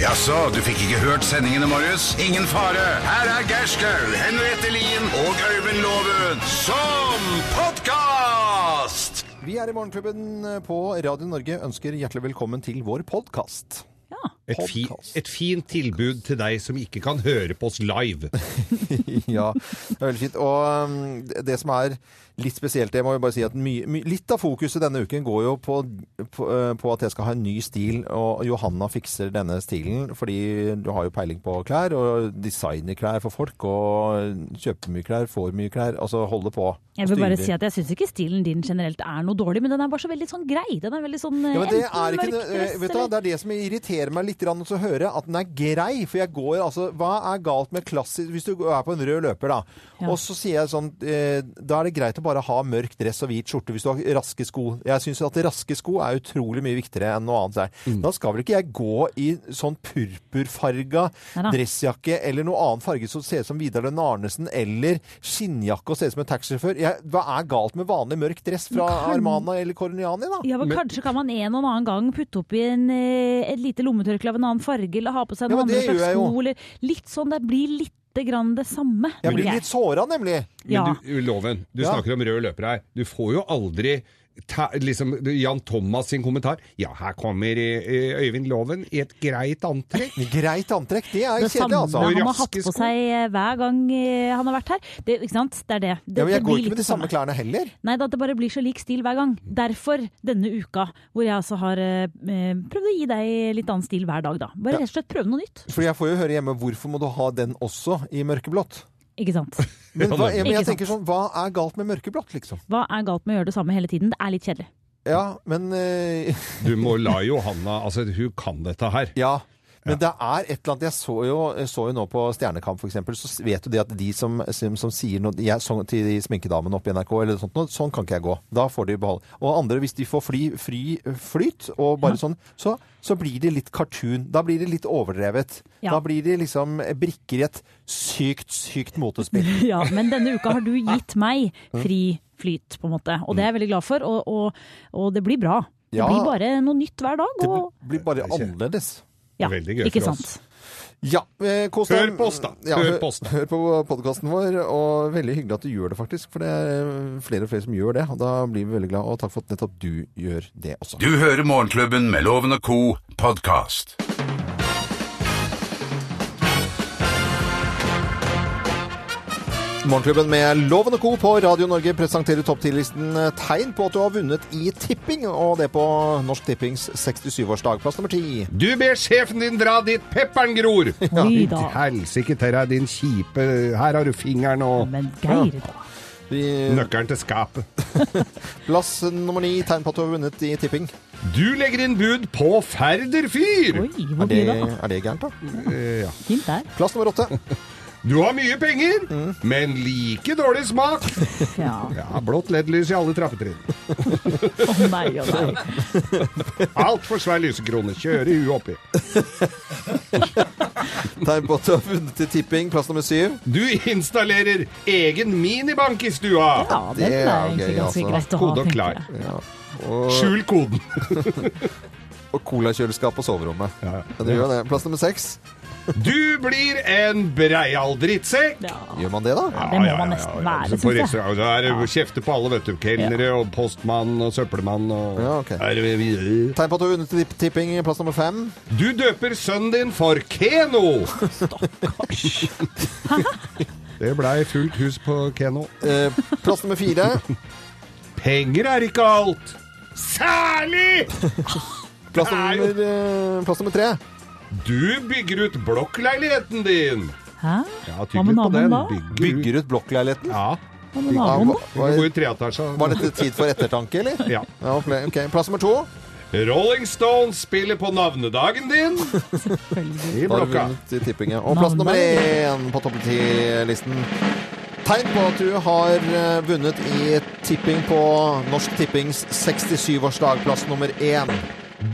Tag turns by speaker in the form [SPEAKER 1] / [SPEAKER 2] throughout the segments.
[SPEAKER 1] Jaså, du fikk ikke hørt sendingene, Marius? Ingen fare. Her er Gerskaug, Henriette Lien og Øyvind Loven som podkast!
[SPEAKER 2] Vi er i Morgenklubben på Radio Norge. Ønsker hjertelig velkommen til vår podkast.
[SPEAKER 3] Ja.
[SPEAKER 4] Et, fi,
[SPEAKER 2] Podcast.
[SPEAKER 4] et fint tilbud til deg som ikke kan høre på oss live.
[SPEAKER 2] ja, det er veldig fint. Og um, det som er litt spesielt, det må jeg bare si at mye- my, litt av fokuset denne uken går jo på, på, eh, på at jeg skal ha en ny stil, og Johanna fikser denne stilen, fordi du har jo peiling på klær, og designer klær for folk, og kjøper mye klær, får mye klær, altså holder på.
[SPEAKER 3] Jeg vil bare
[SPEAKER 2] Styrer.
[SPEAKER 3] si at jeg syns ikke stilen din generelt er noe dårlig, men den er bare så veldig sånn grei. Den er veldig sånn eh,
[SPEAKER 2] Ja, men det er
[SPEAKER 3] enten
[SPEAKER 2] ikke
[SPEAKER 3] mørk
[SPEAKER 2] det, eh,
[SPEAKER 3] dress
[SPEAKER 2] vet du, hva, det er det som irriterer meg litt grann, å høre at den er grei. For jeg går altså Hva er galt med klassisk Hvis du er på en rød løper, da,
[SPEAKER 3] Ja.
[SPEAKER 2] og så sier jeg sånn eh, Da er det greit å bare ha mørk dress og hvit skjorte hvis du har raske sko. Jeg syns at raske sko er utrolig mye viktigere enn noe annet. Der.
[SPEAKER 3] Mm.
[SPEAKER 2] Da skal vel ikke jeg gå i sånn purpurfarga
[SPEAKER 3] Neida.
[SPEAKER 2] dressjakke eller noe annen farge som ser ut som Vidar Lønn Arnesen, eller skinnjakke og ser ut som en taxisjåfør. Jeg- Hva er galt med vanlig mørk dress fra Armana eller Corniani, da?
[SPEAKER 3] Ja, men Kanskje kan man en og en annen gang putte oppi en, eh, et lite lommetørkle av en annen farge, eller ha på seg
[SPEAKER 2] Ja,
[SPEAKER 3] noen
[SPEAKER 2] men
[SPEAKER 3] andre
[SPEAKER 2] det gjør
[SPEAKER 3] slags
[SPEAKER 2] jeg jo.
[SPEAKER 3] sko, eller litt sånn. Det blir lite grann det samme.
[SPEAKER 2] Jeg
[SPEAKER 3] tenker
[SPEAKER 2] blir litt sånn, såra, nemlig.
[SPEAKER 3] Ja.
[SPEAKER 4] Men du, Loven, du
[SPEAKER 2] Ja.
[SPEAKER 4] snakker om rød løper her. Du får jo aldri ta, liksom, Jan Thomas sin kommentar. Ja, her kommer eh, Øyvind Loven i et greit antrekk.
[SPEAKER 2] Greit antrekk, det er
[SPEAKER 3] det samme
[SPEAKER 2] kjedelig, altså.
[SPEAKER 4] Og
[SPEAKER 3] han har
[SPEAKER 4] raske
[SPEAKER 3] hatt på
[SPEAKER 4] sko.
[SPEAKER 3] seg eh, hver gang eh, han har vært her. Det, ikke sant? Det er det. det
[SPEAKER 2] Ja, men jeg går
[SPEAKER 3] det blir litt sånn.
[SPEAKER 2] ikke med de samme klærne heller.
[SPEAKER 3] Nei, da, det bare blir så lik stil hver gang. Derfor denne uka, hvor jeg altså har eh, prøvd å gi deg litt annen stil hver dag, da. Bare rett og slett prøve noe nytt.
[SPEAKER 2] For jeg får jo høre hjemme hvorfor må du ha den også i mørkeblått?
[SPEAKER 3] Ikke sant.
[SPEAKER 2] Men, hva, jeg, men jeg
[SPEAKER 3] Ikke sant.
[SPEAKER 2] tenker sånn, hva er galt med mørkeblått, liksom?
[SPEAKER 3] Hva er galt med å gjøre det samme hele tiden? Det er litt kjedelig.
[SPEAKER 2] Ja, men eh,
[SPEAKER 4] Du må la Johanna Altså, hun kan dette her.
[SPEAKER 2] Ja. Men det er et eller annet Jeg så jo, jeg så jo nå på Stjernekamp, f.eks., så vet du det at de som, som, som sier noe jeg, sånn, til de sminkedamene oppe i NRK eller sånt noe, sånn kan ikke jeg gå. Da får de beholde. Og andre, hvis de får fly, fri flyt og bare sånn, så, så blir det litt cartoon. Da blir det litt overdrevet.
[SPEAKER 3] Ja.
[SPEAKER 2] Da blir de liksom brikker i et sykt, sykt motespill.
[SPEAKER 3] Ja, men denne uka har du gitt meg fri flyt, på en måte. Og det er jeg veldig glad for, og, og, og det blir bra. Det
[SPEAKER 2] Ja.
[SPEAKER 3] blir bare noe nytt hver dag.
[SPEAKER 2] Det
[SPEAKER 3] Og,
[SPEAKER 2] blir bare
[SPEAKER 4] Det er ikke-
[SPEAKER 2] annerledes.
[SPEAKER 3] ja,
[SPEAKER 4] veldig gøy
[SPEAKER 3] ikke
[SPEAKER 4] for oss.
[SPEAKER 3] sant.
[SPEAKER 2] Ja, eh, kos deg.
[SPEAKER 4] Hør på oss da.
[SPEAKER 2] Ja,
[SPEAKER 4] Hør
[SPEAKER 2] hør,
[SPEAKER 4] på oss da.
[SPEAKER 2] hør på podkasten vår, og veldig hyggelig at du gjør det, faktisk. For det er eh, flere og flere som gjør det, og da blir vi veldig glad. Og takk for at nettopp du gjør det også.
[SPEAKER 1] Du hører Morgenklubben med Loven og co. podkast.
[SPEAKER 2] Morgenklubben med Loven og Co. på Radio Norge presenterer topp 10-listen tegn på at du har vunnet i tipping, og det på Norsk Tippings 67-årsdag. Plass nummer ti.
[SPEAKER 4] Du ber sjefen din dra dit pepperen gror!
[SPEAKER 3] Oi da.
[SPEAKER 4] Helsike til deg, din kjipe Her har du fingeren og
[SPEAKER 3] Men Geir, da.
[SPEAKER 2] Vi-
[SPEAKER 4] nøkkelen til skapet.
[SPEAKER 2] Plass nummer ni. Tegn på at du har vunnet i tipping.
[SPEAKER 4] Du legger inn bud på Færder fyr!
[SPEAKER 3] Oi,
[SPEAKER 2] Er
[SPEAKER 3] hvor
[SPEAKER 2] det,
[SPEAKER 3] mye da?
[SPEAKER 2] er det gærent, da?
[SPEAKER 4] Eh, ja.
[SPEAKER 3] Fint der.
[SPEAKER 2] Plass nummer åtte.
[SPEAKER 4] Du har mye penger, men like dårlig smak.
[SPEAKER 3] Ja.
[SPEAKER 4] Ja, Blått LED-lys i alle trappetrinn.
[SPEAKER 3] Å nei, å nei.
[SPEAKER 4] Altfor svær lysekrone. Kjøre huet oppi.
[SPEAKER 2] Tegn på at du har vunnet i tipping. Plass nummer syv.
[SPEAKER 4] Du installerer egen minibank i stua.
[SPEAKER 3] Ja, den
[SPEAKER 2] er
[SPEAKER 3] er
[SPEAKER 2] gøy,
[SPEAKER 3] egentlig ganske
[SPEAKER 2] altså.
[SPEAKER 3] greit å ha,
[SPEAKER 4] Kode og
[SPEAKER 3] tenker
[SPEAKER 4] klar.
[SPEAKER 3] jeg.
[SPEAKER 4] Skjul koden.
[SPEAKER 2] Og colakjøleskap på soverommet.
[SPEAKER 4] Ja, ja.
[SPEAKER 2] Ja, det gjør det. Plass nummer seks.
[SPEAKER 4] Du blir en breial drittsekk.
[SPEAKER 3] Ja.
[SPEAKER 2] Gjør man det, da?
[SPEAKER 3] Det må man nesten være,
[SPEAKER 4] Så på
[SPEAKER 3] synes jeg.
[SPEAKER 4] restaurant, Da er det kjefte på alle, vet du. Kelnere og postmann og søppelmann og
[SPEAKER 2] Ja, ok.
[SPEAKER 4] Er
[SPEAKER 2] Tegn
[SPEAKER 4] det-
[SPEAKER 2] på at du har vunnet tipp- tipping. Plass nummer fem.
[SPEAKER 4] Du døper sønnen din for Keno. Det blei fullt hus på Keno.
[SPEAKER 2] Eh, plass nummer fire.
[SPEAKER 4] Penger er ikke alt. Særlig!
[SPEAKER 2] Plass
[SPEAKER 4] Det er jo-
[SPEAKER 2] nummer, eh, plass nummer tre.
[SPEAKER 4] Du bygger ut blokkleiligheten din.
[SPEAKER 3] Hæ?
[SPEAKER 4] Ja,
[SPEAKER 3] Hva med naboen da?
[SPEAKER 4] Bygger ut.
[SPEAKER 2] Bygger ut blokkleiligheten.
[SPEAKER 4] Ja,
[SPEAKER 3] Hva med
[SPEAKER 2] Ja,
[SPEAKER 3] naboen da?
[SPEAKER 2] hva-
[SPEAKER 4] det
[SPEAKER 2] var,
[SPEAKER 4] går jo treetasja.
[SPEAKER 2] var dette tid for ettertanke, eller?
[SPEAKER 4] Ja.
[SPEAKER 2] Ja, ok. ok. Plass nummer to.
[SPEAKER 4] Rolling Stones spiller på navnedagen din. I
[SPEAKER 2] Da har du
[SPEAKER 4] blokka.
[SPEAKER 2] vunnet i tippingen. Og plass nummer én på toppen ti-listen. Tegn på at du har eh, vunnet i tipping på Norsk Tippings 67-årsdag. Plass nummer én.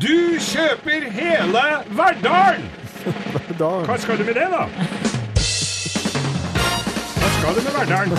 [SPEAKER 4] Du kjøper hele Verdalen!
[SPEAKER 2] Da
[SPEAKER 4] Hva skal du med det, da? Hva skal du med Verdalen?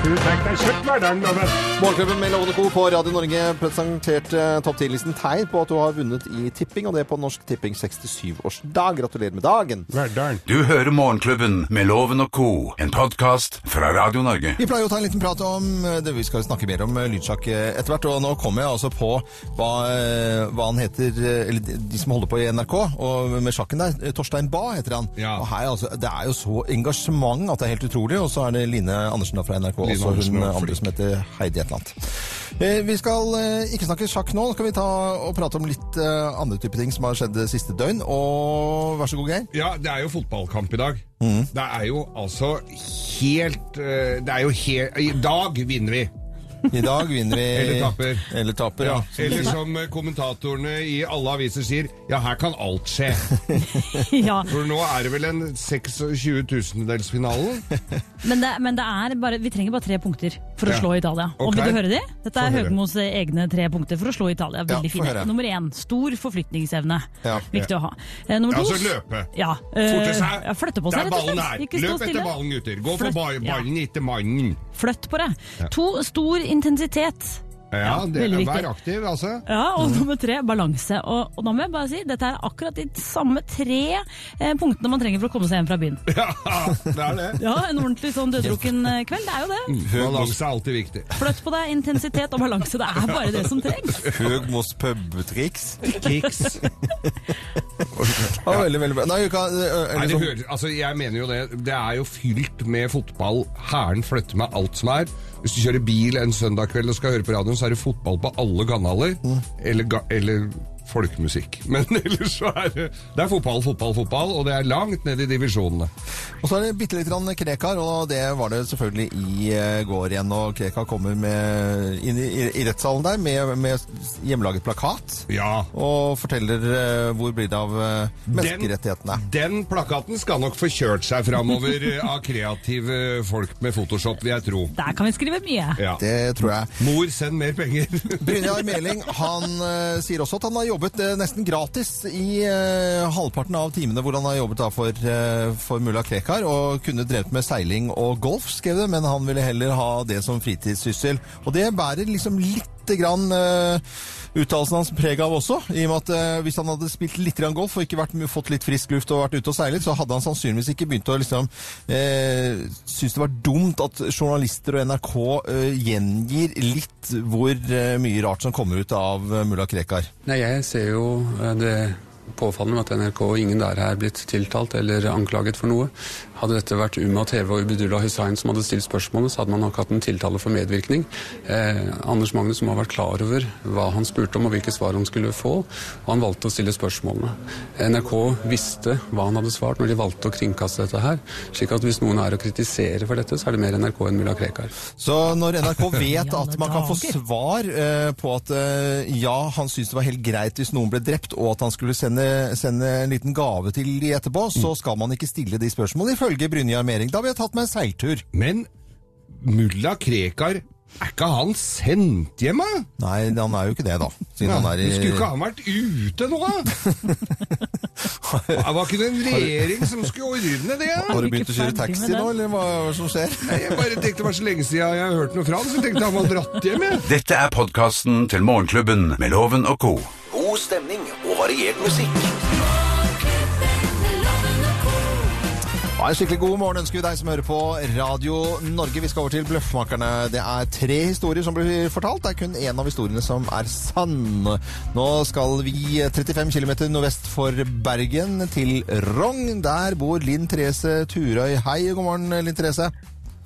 [SPEAKER 4] Du fikk deg kjøtt hver dag, da, vet du.
[SPEAKER 2] Morgenklubben med Lovende Co. på Radio Norge presenterte eh, topp 10-listen tegn på at du har vunnet i tipping, og det på Norsk Tipping 67-årsdag. Gratulerer med dagen!
[SPEAKER 4] Verdalen.
[SPEAKER 1] Du hører Morgenklubben med Loven og co., en podkast fra Radio Norge.
[SPEAKER 2] Vi pleier å ta en liten prat om eh, det vi skal snakke mer om eh, lydsjakk eh, etter hvert. Og nå kommer jeg altså på hva, eh, hva han heter eh, Eller de de som holder på i NRK og med sjakken der. eh, Torstein Bae heter han.
[SPEAKER 4] Ja.
[SPEAKER 2] Og her, altså, Det er jo så engasjement at det er helt utrolig. Og så er det Line Andersen da fra NRK,
[SPEAKER 4] Line
[SPEAKER 2] også
[SPEAKER 4] Andersen,
[SPEAKER 2] hun
[SPEAKER 4] ja,
[SPEAKER 2] eh, andre
[SPEAKER 4] flink.
[SPEAKER 2] som heter Heidi et eller annet. Eh, Vi skal eh, ikke snakke sjakk nå. Nå skal vi ta og prate om litt eh, andre typer ting som har skjedd det siste døgn. Og vær så god, Geir.
[SPEAKER 4] Ja, det er jo fotballkamp i dag. Det er jo altså helt eh, Det er jo helt I dag vinner vi.
[SPEAKER 2] I dag vinner vi
[SPEAKER 4] Eller taper.
[SPEAKER 2] Eller taper, ja.
[SPEAKER 4] Ja, eller som eh, kommentatorene i alle aviser sier, ja, her kan alt skje.
[SPEAKER 3] Ja,
[SPEAKER 4] For nå er det vel en 26 000-delsfinalen?
[SPEAKER 3] men det, men det er bare, vi trenger bare tre punkter for å
[SPEAKER 4] Ja.
[SPEAKER 3] slå Italia. Og
[SPEAKER 4] Ok.
[SPEAKER 3] vil du høre de? Dette
[SPEAKER 4] Få
[SPEAKER 3] er
[SPEAKER 4] høre.
[SPEAKER 3] Høgmos egne tre punkter for å slå Italia.
[SPEAKER 2] Ja,
[SPEAKER 3] Veldig
[SPEAKER 2] få
[SPEAKER 3] fine.
[SPEAKER 2] høre.
[SPEAKER 3] Nummer én, stor forflytningsevne.
[SPEAKER 2] Ja.
[SPEAKER 3] Viktig å ha. Eh, Nummer
[SPEAKER 4] Ja,
[SPEAKER 3] to
[SPEAKER 4] altså løpe.
[SPEAKER 3] Ja, eh,
[SPEAKER 4] Forte seg.
[SPEAKER 3] ja, flytte på seg,
[SPEAKER 4] Der
[SPEAKER 3] rett og
[SPEAKER 4] ballen
[SPEAKER 3] slett.
[SPEAKER 4] er.
[SPEAKER 3] Ikke stå
[SPEAKER 4] Løp etter
[SPEAKER 3] stille.
[SPEAKER 4] ballen, gutter. Gå for
[SPEAKER 3] Flytt,
[SPEAKER 4] ba-
[SPEAKER 3] ja.
[SPEAKER 4] ballen, ikke mannen.
[SPEAKER 3] Flytt på deg. To, stor intensitet.
[SPEAKER 4] Ja, det
[SPEAKER 3] veldig
[SPEAKER 4] er,
[SPEAKER 3] viktig.
[SPEAKER 4] vær aktiv, altså.
[SPEAKER 3] Ja, og nummer tre, balanse. Og, og da må jeg bare si, dette er akkurat de samme tre eh, punktene man trenger for å komme seg hjem fra byen.
[SPEAKER 4] Ja, det er det.
[SPEAKER 3] Ja, en ordentlig sånn døddrukken eh, kveld, det er jo
[SPEAKER 4] Mm.
[SPEAKER 3] det.
[SPEAKER 4] Balanse er alltid viktig.
[SPEAKER 3] Fløtt på deg, intensitet og balanse, det er bare det som trengs.
[SPEAKER 2] Høgmos pubtriks.
[SPEAKER 4] Kicks.
[SPEAKER 2] Ja, veldig, veldig bra. Nei, uka, ø, eller
[SPEAKER 4] Nei, det
[SPEAKER 2] sånn-
[SPEAKER 4] hører, altså, jeg mener jo det. Det er jo fylt med fotball. Hæren flytter med alt som er. Hvis du kjører bil en søndag kveld og skal høre på radioen, så er det fotball på alle kanaler.
[SPEAKER 2] Mm.
[SPEAKER 4] Eller, ga- eller folkemusikk. Men ellers så er det Det er fotball, fotball, fotball, og det er langt ned i divisjonene.
[SPEAKER 2] og så er det bitte litt grann krekar, og det var det selvfølgelig i eh, går igjen. Og krekar kommer med, inn i, i rettssalen der med, med hjemmelaget plakat.
[SPEAKER 4] Ja.
[SPEAKER 2] Og forteller eh, hvor blir det av eh, menneskerettighetene.
[SPEAKER 4] Den plakaten skal nok få kjørt seg framover eh, av kreative folk med Photoshop, vil jeg tro.
[SPEAKER 3] Der kan vi skrive mye.
[SPEAKER 4] Ja.
[SPEAKER 2] Det tror jeg.
[SPEAKER 4] Mor, send mer penger.
[SPEAKER 2] Brynjar Meling han eh, sier også at han har jobbet eh, nesten gratis i eh, halvparten av timene hvor han har jobbet da for, eh, for mulla Krekar, og kunne drevet med seiling og golf, skrev det, men han ville heller ha det som fritidssyssel. Og det bærer liksom lite grann eh, uttalelsen hans preg av også, i og med at eh, hvis han hadde spilt litt grann golf og ikke vært, fått litt frisk luft og vært ute og seilet, så hadde han sannsynligvis ikke begynt å liksom eh, synes det var dumt at journalister og NRK eh, gjengir litt hvor eh, mye rart som kommer ut av eh, mulla Krekar.
[SPEAKER 5] Nei, jeg ser jo eh, det påfallende med at NRK og ingen der er blitt tiltalt eller anklaget for noe. Hadde dette vært Uma TV og Ubedullah Hussain som hadde stilt spørsmålet, så hadde man nok hatt en tiltale for medvirkning. Eh, Anders Magnus må ha vært klar over hva han spurte om og hvilke svar han skulle få, og han valgte å stille spørsmålene. NRK visste hva han hadde svart når de valgte å kringkaste dette her, slik at hvis noen er å kritisere for dette, så er det mer NRK enn mulla Krekar.
[SPEAKER 2] Så når NRK vet
[SPEAKER 3] I alle
[SPEAKER 2] at man kan få
[SPEAKER 3] dager.
[SPEAKER 2] svar eh, på at eh, ja, han syntes det var helt greit hvis noen ble drept, og at han skulle sende, sende en liten gave til de etterpå, så skal man ikke stille de spørsmålene, ifølge Brynjar Mering. Da vil jeg tatt meg en seiltur.
[SPEAKER 4] Men mulla Krekar, er ikke han sendt hjem, da?
[SPEAKER 2] Nei, han er jo ikke det, da. Siden han er i
[SPEAKER 4] Skulle ikke han vært ute nå, da? Det var ikke en regjering som skulle ordne det? da?
[SPEAKER 2] Har du
[SPEAKER 3] ikke
[SPEAKER 2] begynt å kjøre
[SPEAKER 3] ferdig
[SPEAKER 2] taxi
[SPEAKER 3] med
[SPEAKER 2] nå,
[SPEAKER 3] den.
[SPEAKER 2] eller hva hva er det som skjer?
[SPEAKER 4] Jeg bare tenkte det var så lenge siden jeg har hørt noe fra han, så jeg tenkte han var dratt hjem, jeg.
[SPEAKER 1] Dette er podkasten til Morgenklubben med Loven og co.
[SPEAKER 6] God stemning og variert musikk.
[SPEAKER 2] Ja, en skikkelig god morgen ønsker vi deg som hører på Radio Norge. Vi skal over til Bløffmakerne. Det er tre historier som blir fortalt. Det er kun én av historiene som er sann. Nå skal vi 35 km nordvest for Bergen, til Rogn. Der bor Linn Therese Turøy. Hei og god morgen, Linn Therese.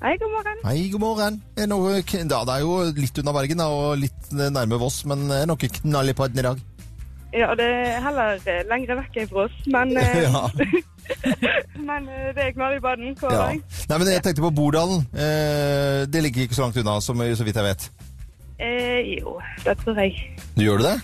[SPEAKER 7] Hei, god morgen.
[SPEAKER 2] Hei, god morgen. Er noe kn- da, det er jo litt unna Bergen da, og litt nærme Voss, men er noe knall i podden i dag?
[SPEAKER 7] Ja, det er heller eh, lengre vekk enn for oss, men, eh, men eh, det er knall i baden. hver
[SPEAKER 2] Ja.
[SPEAKER 7] dag.
[SPEAKER 2] Nei, men jeg tenkte på Bordalen. Eh, det ligger ikke så langt unna, som, så vidt jeg vet.
[SPEAKER 7] Eh, jo, det tror jeg.
[SPEAKER 2] Du gjør du det?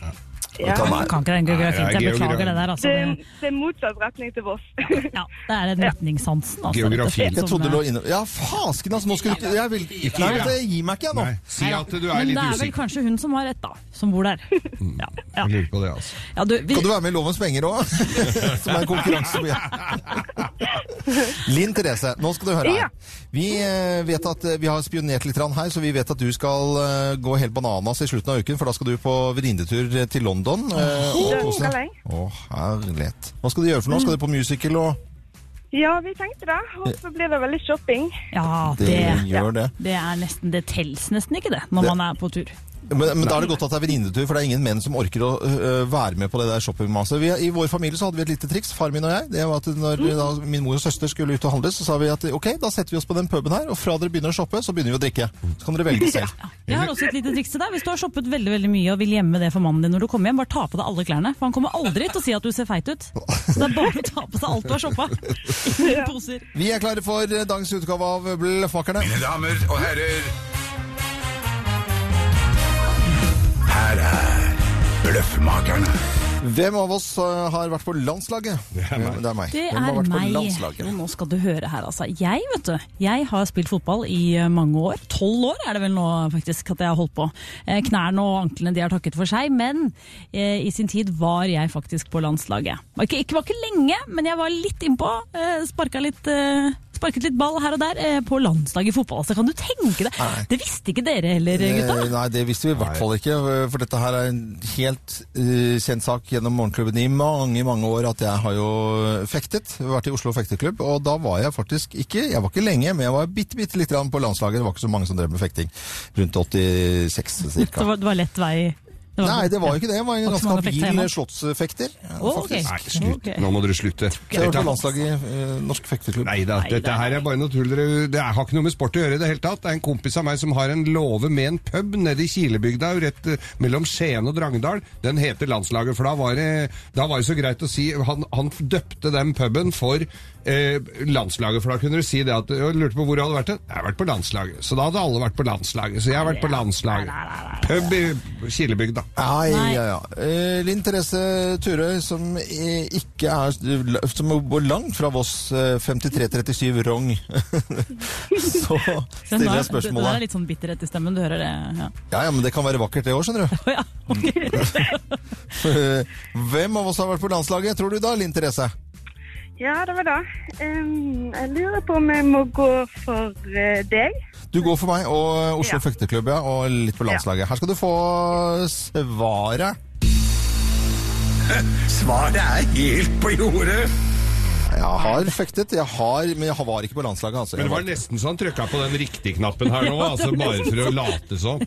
[SPEAKER 7] Ja.
[SPEAKER 2] Ta meg.
[SPEAKER 3] Jeg kan ikke den geografien,
[SPEAKER 4] Nei,
[SPEAKER 3] jeg beklager
[SPEAKER 4] geografi.
[SPEAKER 3] det der. Altså,
[SPEAKER 7] Det,
[SPEAKER 3] det,
[SPEAKER 7] det er motsatt retning til Voss.
[SPEAKER 3] ja, det er den retningssansen. Altså, rett og
[SPEAKER 4] Geografi.
[SPEAKER 3] slett,
[SPEAKER 2] Jeg
[SPEAKER 3] som,
[SPEAKER 2] trodde det lå
[SPEAKER 3] eh,
[SPEAKER 2] inne Ja, fasken, altså! Nå skulle du Jeg vil ikke Nei, vet du, jeg gir meg ikke, jeg nå.
[SPEAKER 4] Nei, si
[SPEAKER 3] nei da.
[SPEAKER 4] at du er
[SPEAKER 3] Men det
[SPEAKER 4] litt
[SPEAKER 3] er vel
[SPEAKER 4] usikker. Mm.
[SPEAKER 3] kanskje hun som har rett, da. Som bor der. Ja, ja.
[SPEAKER 4] Jeg lurer på det, altså.
[SPEAKER 3] ja du, vi,
[SPEAKER 2] Kan du være med i Lovens penger òg? Som er en konkurranse på Linn Therese, nå skal du høre her.
[SPEAKER 7] Ja.
[SPEAKER 2] Vi eh, vet at eh, vi har spionert litt grann her, så vi vet at du skal eh, gå helt bananas i slutten av uken, for da skal du på venninnetur eh, til London. eh, og
[SPEAKER 7] Ja,
[SPEAKER 2] kose deg.
[SPEAKER 7] skal jeg.
[SPEAKER 2] Å, herlighet. Hva skal du gjøre for noe? Skal du på musical og
[SPEAKER 7] Ja, vi tenkte det. Og så blir det vel litt shopping.
[SPEAKER 3] Ja,
[SPEAKER 2] Det
[SPEAKER 3] det,
[SPEAKER 2] gjør det.
[SPEAKER 3] det er nesten Det tels nesten ikke, det, når
[SPEAKER 2] Det-
[SPEAKER 3] man er på tur.
[SPEAKER 2] Men, men da er det godt at det er venninnetur, for det er ingen menn som orker å øh, være med på det der shoppingmaset. Vi- I vår familie så hadde vi et lite triks, far min og jeg. Det var at når da, min mor og søster skulle ut og handle, så sa vi at ok, da setter vi oss på den puben her, og fra dere begynner å shoppe, så begynner vi å drikke. Så kan dere velge selv.
[SPEAKER 3] Jeg har også et lite triks til deg. Hvis du har shoppet veldig veldig mye og vil gjemme det for mannen din når du kommer hjem, bare ta på deg alle klærne. For han kommer aldri til å si at du ser feit ut. Så det er bare å ta på seg alt du har shoppa. Ingen poser.
[SPEAKER 2] Vi er klare for eh, dagens utgave av Bløffmakerne.
[SPEAKER 1] Mine damer og herrer Her er Bløffmakerne
[SPEAKER 2] Hvem av oss eh, har vært på landslaget? Det er meg. Det er meg.
[SPEAKER 3] Det
[SPEAKER 2] Hvem har
[SPEAKER 3] er
[SPEAKER 2] vært på
[SPEAKER 3] meg. Jo,
[SPEAKER 2] landslaget?
[SPEAKER 3] nå skal du høre her, altså. Jeg, vet du, jeg har spilt fotball i eh, mange år. Tolv år er det vel nå faktisk at jeg har holdt på. Eh, Knærne og anklene de har takket for seg, men eh, i sin tid var jeg faktisk på landslaget. Det var ikke, ikke, var ikke lenge, men jeg var litt innpå. Eh, sparka litt eh, Sparket litt ball her og der eh, på landslaget i fotball. Altså, kan du tenke det?
[SPEAKER 2] Nei.
[SPEAKER 3] Det visste ikke dere heller, gutta.
[SPEAKER 2] Eh, Nei, det visste vi i hvert fall ikke, eh, for dette her er en helt eh, kjent sak gjennom morgenklubben i mange, mange år at jeg har jo eh, fektet, vært i Oslo fekteklubb, og da var jeg faktisk ikke, jeg var ikke lenge, men jeg var bitte, bitte litt grann på landslaget, det var ikke så mange som drev med fekting, rundt 86
[SPEAKER 3] Det
[SPEAKER 2] cirka.
[SPEAKER 3] var, det var lett vei. Det
[SPEAKER 2] Nei, det var jo ikke det, jeg var en
[SPEAKER 3] Var ikke så
[SPEAKER 2] ganske
[SPEAKER 3] mange fekter
[SPEAKER 2] habil
[SPEAKER 3] hjemme.
[SPEAKER 2] slottsfekter, ja,
[SPEAKER 3] Å, ok.
[SPEAKER 2] faktisk.
[SPEAKER 4] Nei, slutt.
[SPEAKER 3] Ok.
[SPEAKER 4] Nå må dere slutte.
[SPEAKER 2] Så jeg var
[SPEAKER 4] Dette-
[SPEAKER 2] på landslaget i eh, norsk fekteklubb.
[SPEAKER 4] Nei da, dette her er bare noe tull. dere- Det er- har ikke noe med sport å gjøre i det hele tatt. Det er en kompis av meg som har en låve med en pub nede i Kilebygda, rett eh, mellom Skien og Drangedal. Den heter Landslaget, for da var det, da var det så greit å si Han, han døpte den puben for eh, Landslaget, for da kunne du si det at Jeg lurte på hvor jeg hadde vært hen. Jeg har vært på landslaget. Så da hadde alle vært på landslaget. Så jeg har vært på landslaget. Pub i Kilebygda.
[SPEAKER 2] Nei,
[SPEAKER 3] Nei.
[SPEAKER 2] ja, ja. Eh, Linn Therese Turøy, som eh, ikke er Som bor langt fra Voss eh, 5337 Rong. Så stiller jeg
[SPEAKER 3] Den var- Det, det er
[SPEAKER 2] spørsmålet.
[SPEAKER 3] litt sånn bitterhet i stemmen, du hører det. Ja.
[SPEAKER 2] Ja, ja, men det kan være vakkert det òg, skjønner du.
[SPEAKER 3] Å, ja.
[SPEAKER 2] Eh, Hvem av oss har vært på landslaget, tror du da, Linn Therese?
[SPEAKER 7] Ja, det var det. Ehm, jeg lurer på om jeg må gå for eh, deg.
[SPEAKER 2] Du går for meg og Oslo
[SPEAKER 7] Ja.
[SPEAKER 2] Fekteklubb, ja, og litt på landslaget. Her skal du få svaret.
[SPEAKER 1] Svaret er helt på jordet
[SPEAKER 2] Jeg har fektet, jeg har, men jeg var ikke på landslaget. Altså.
[SPEAKER 4] Men det var nesten så han trykka på den riktige knappen her nå, altså bare for å late som.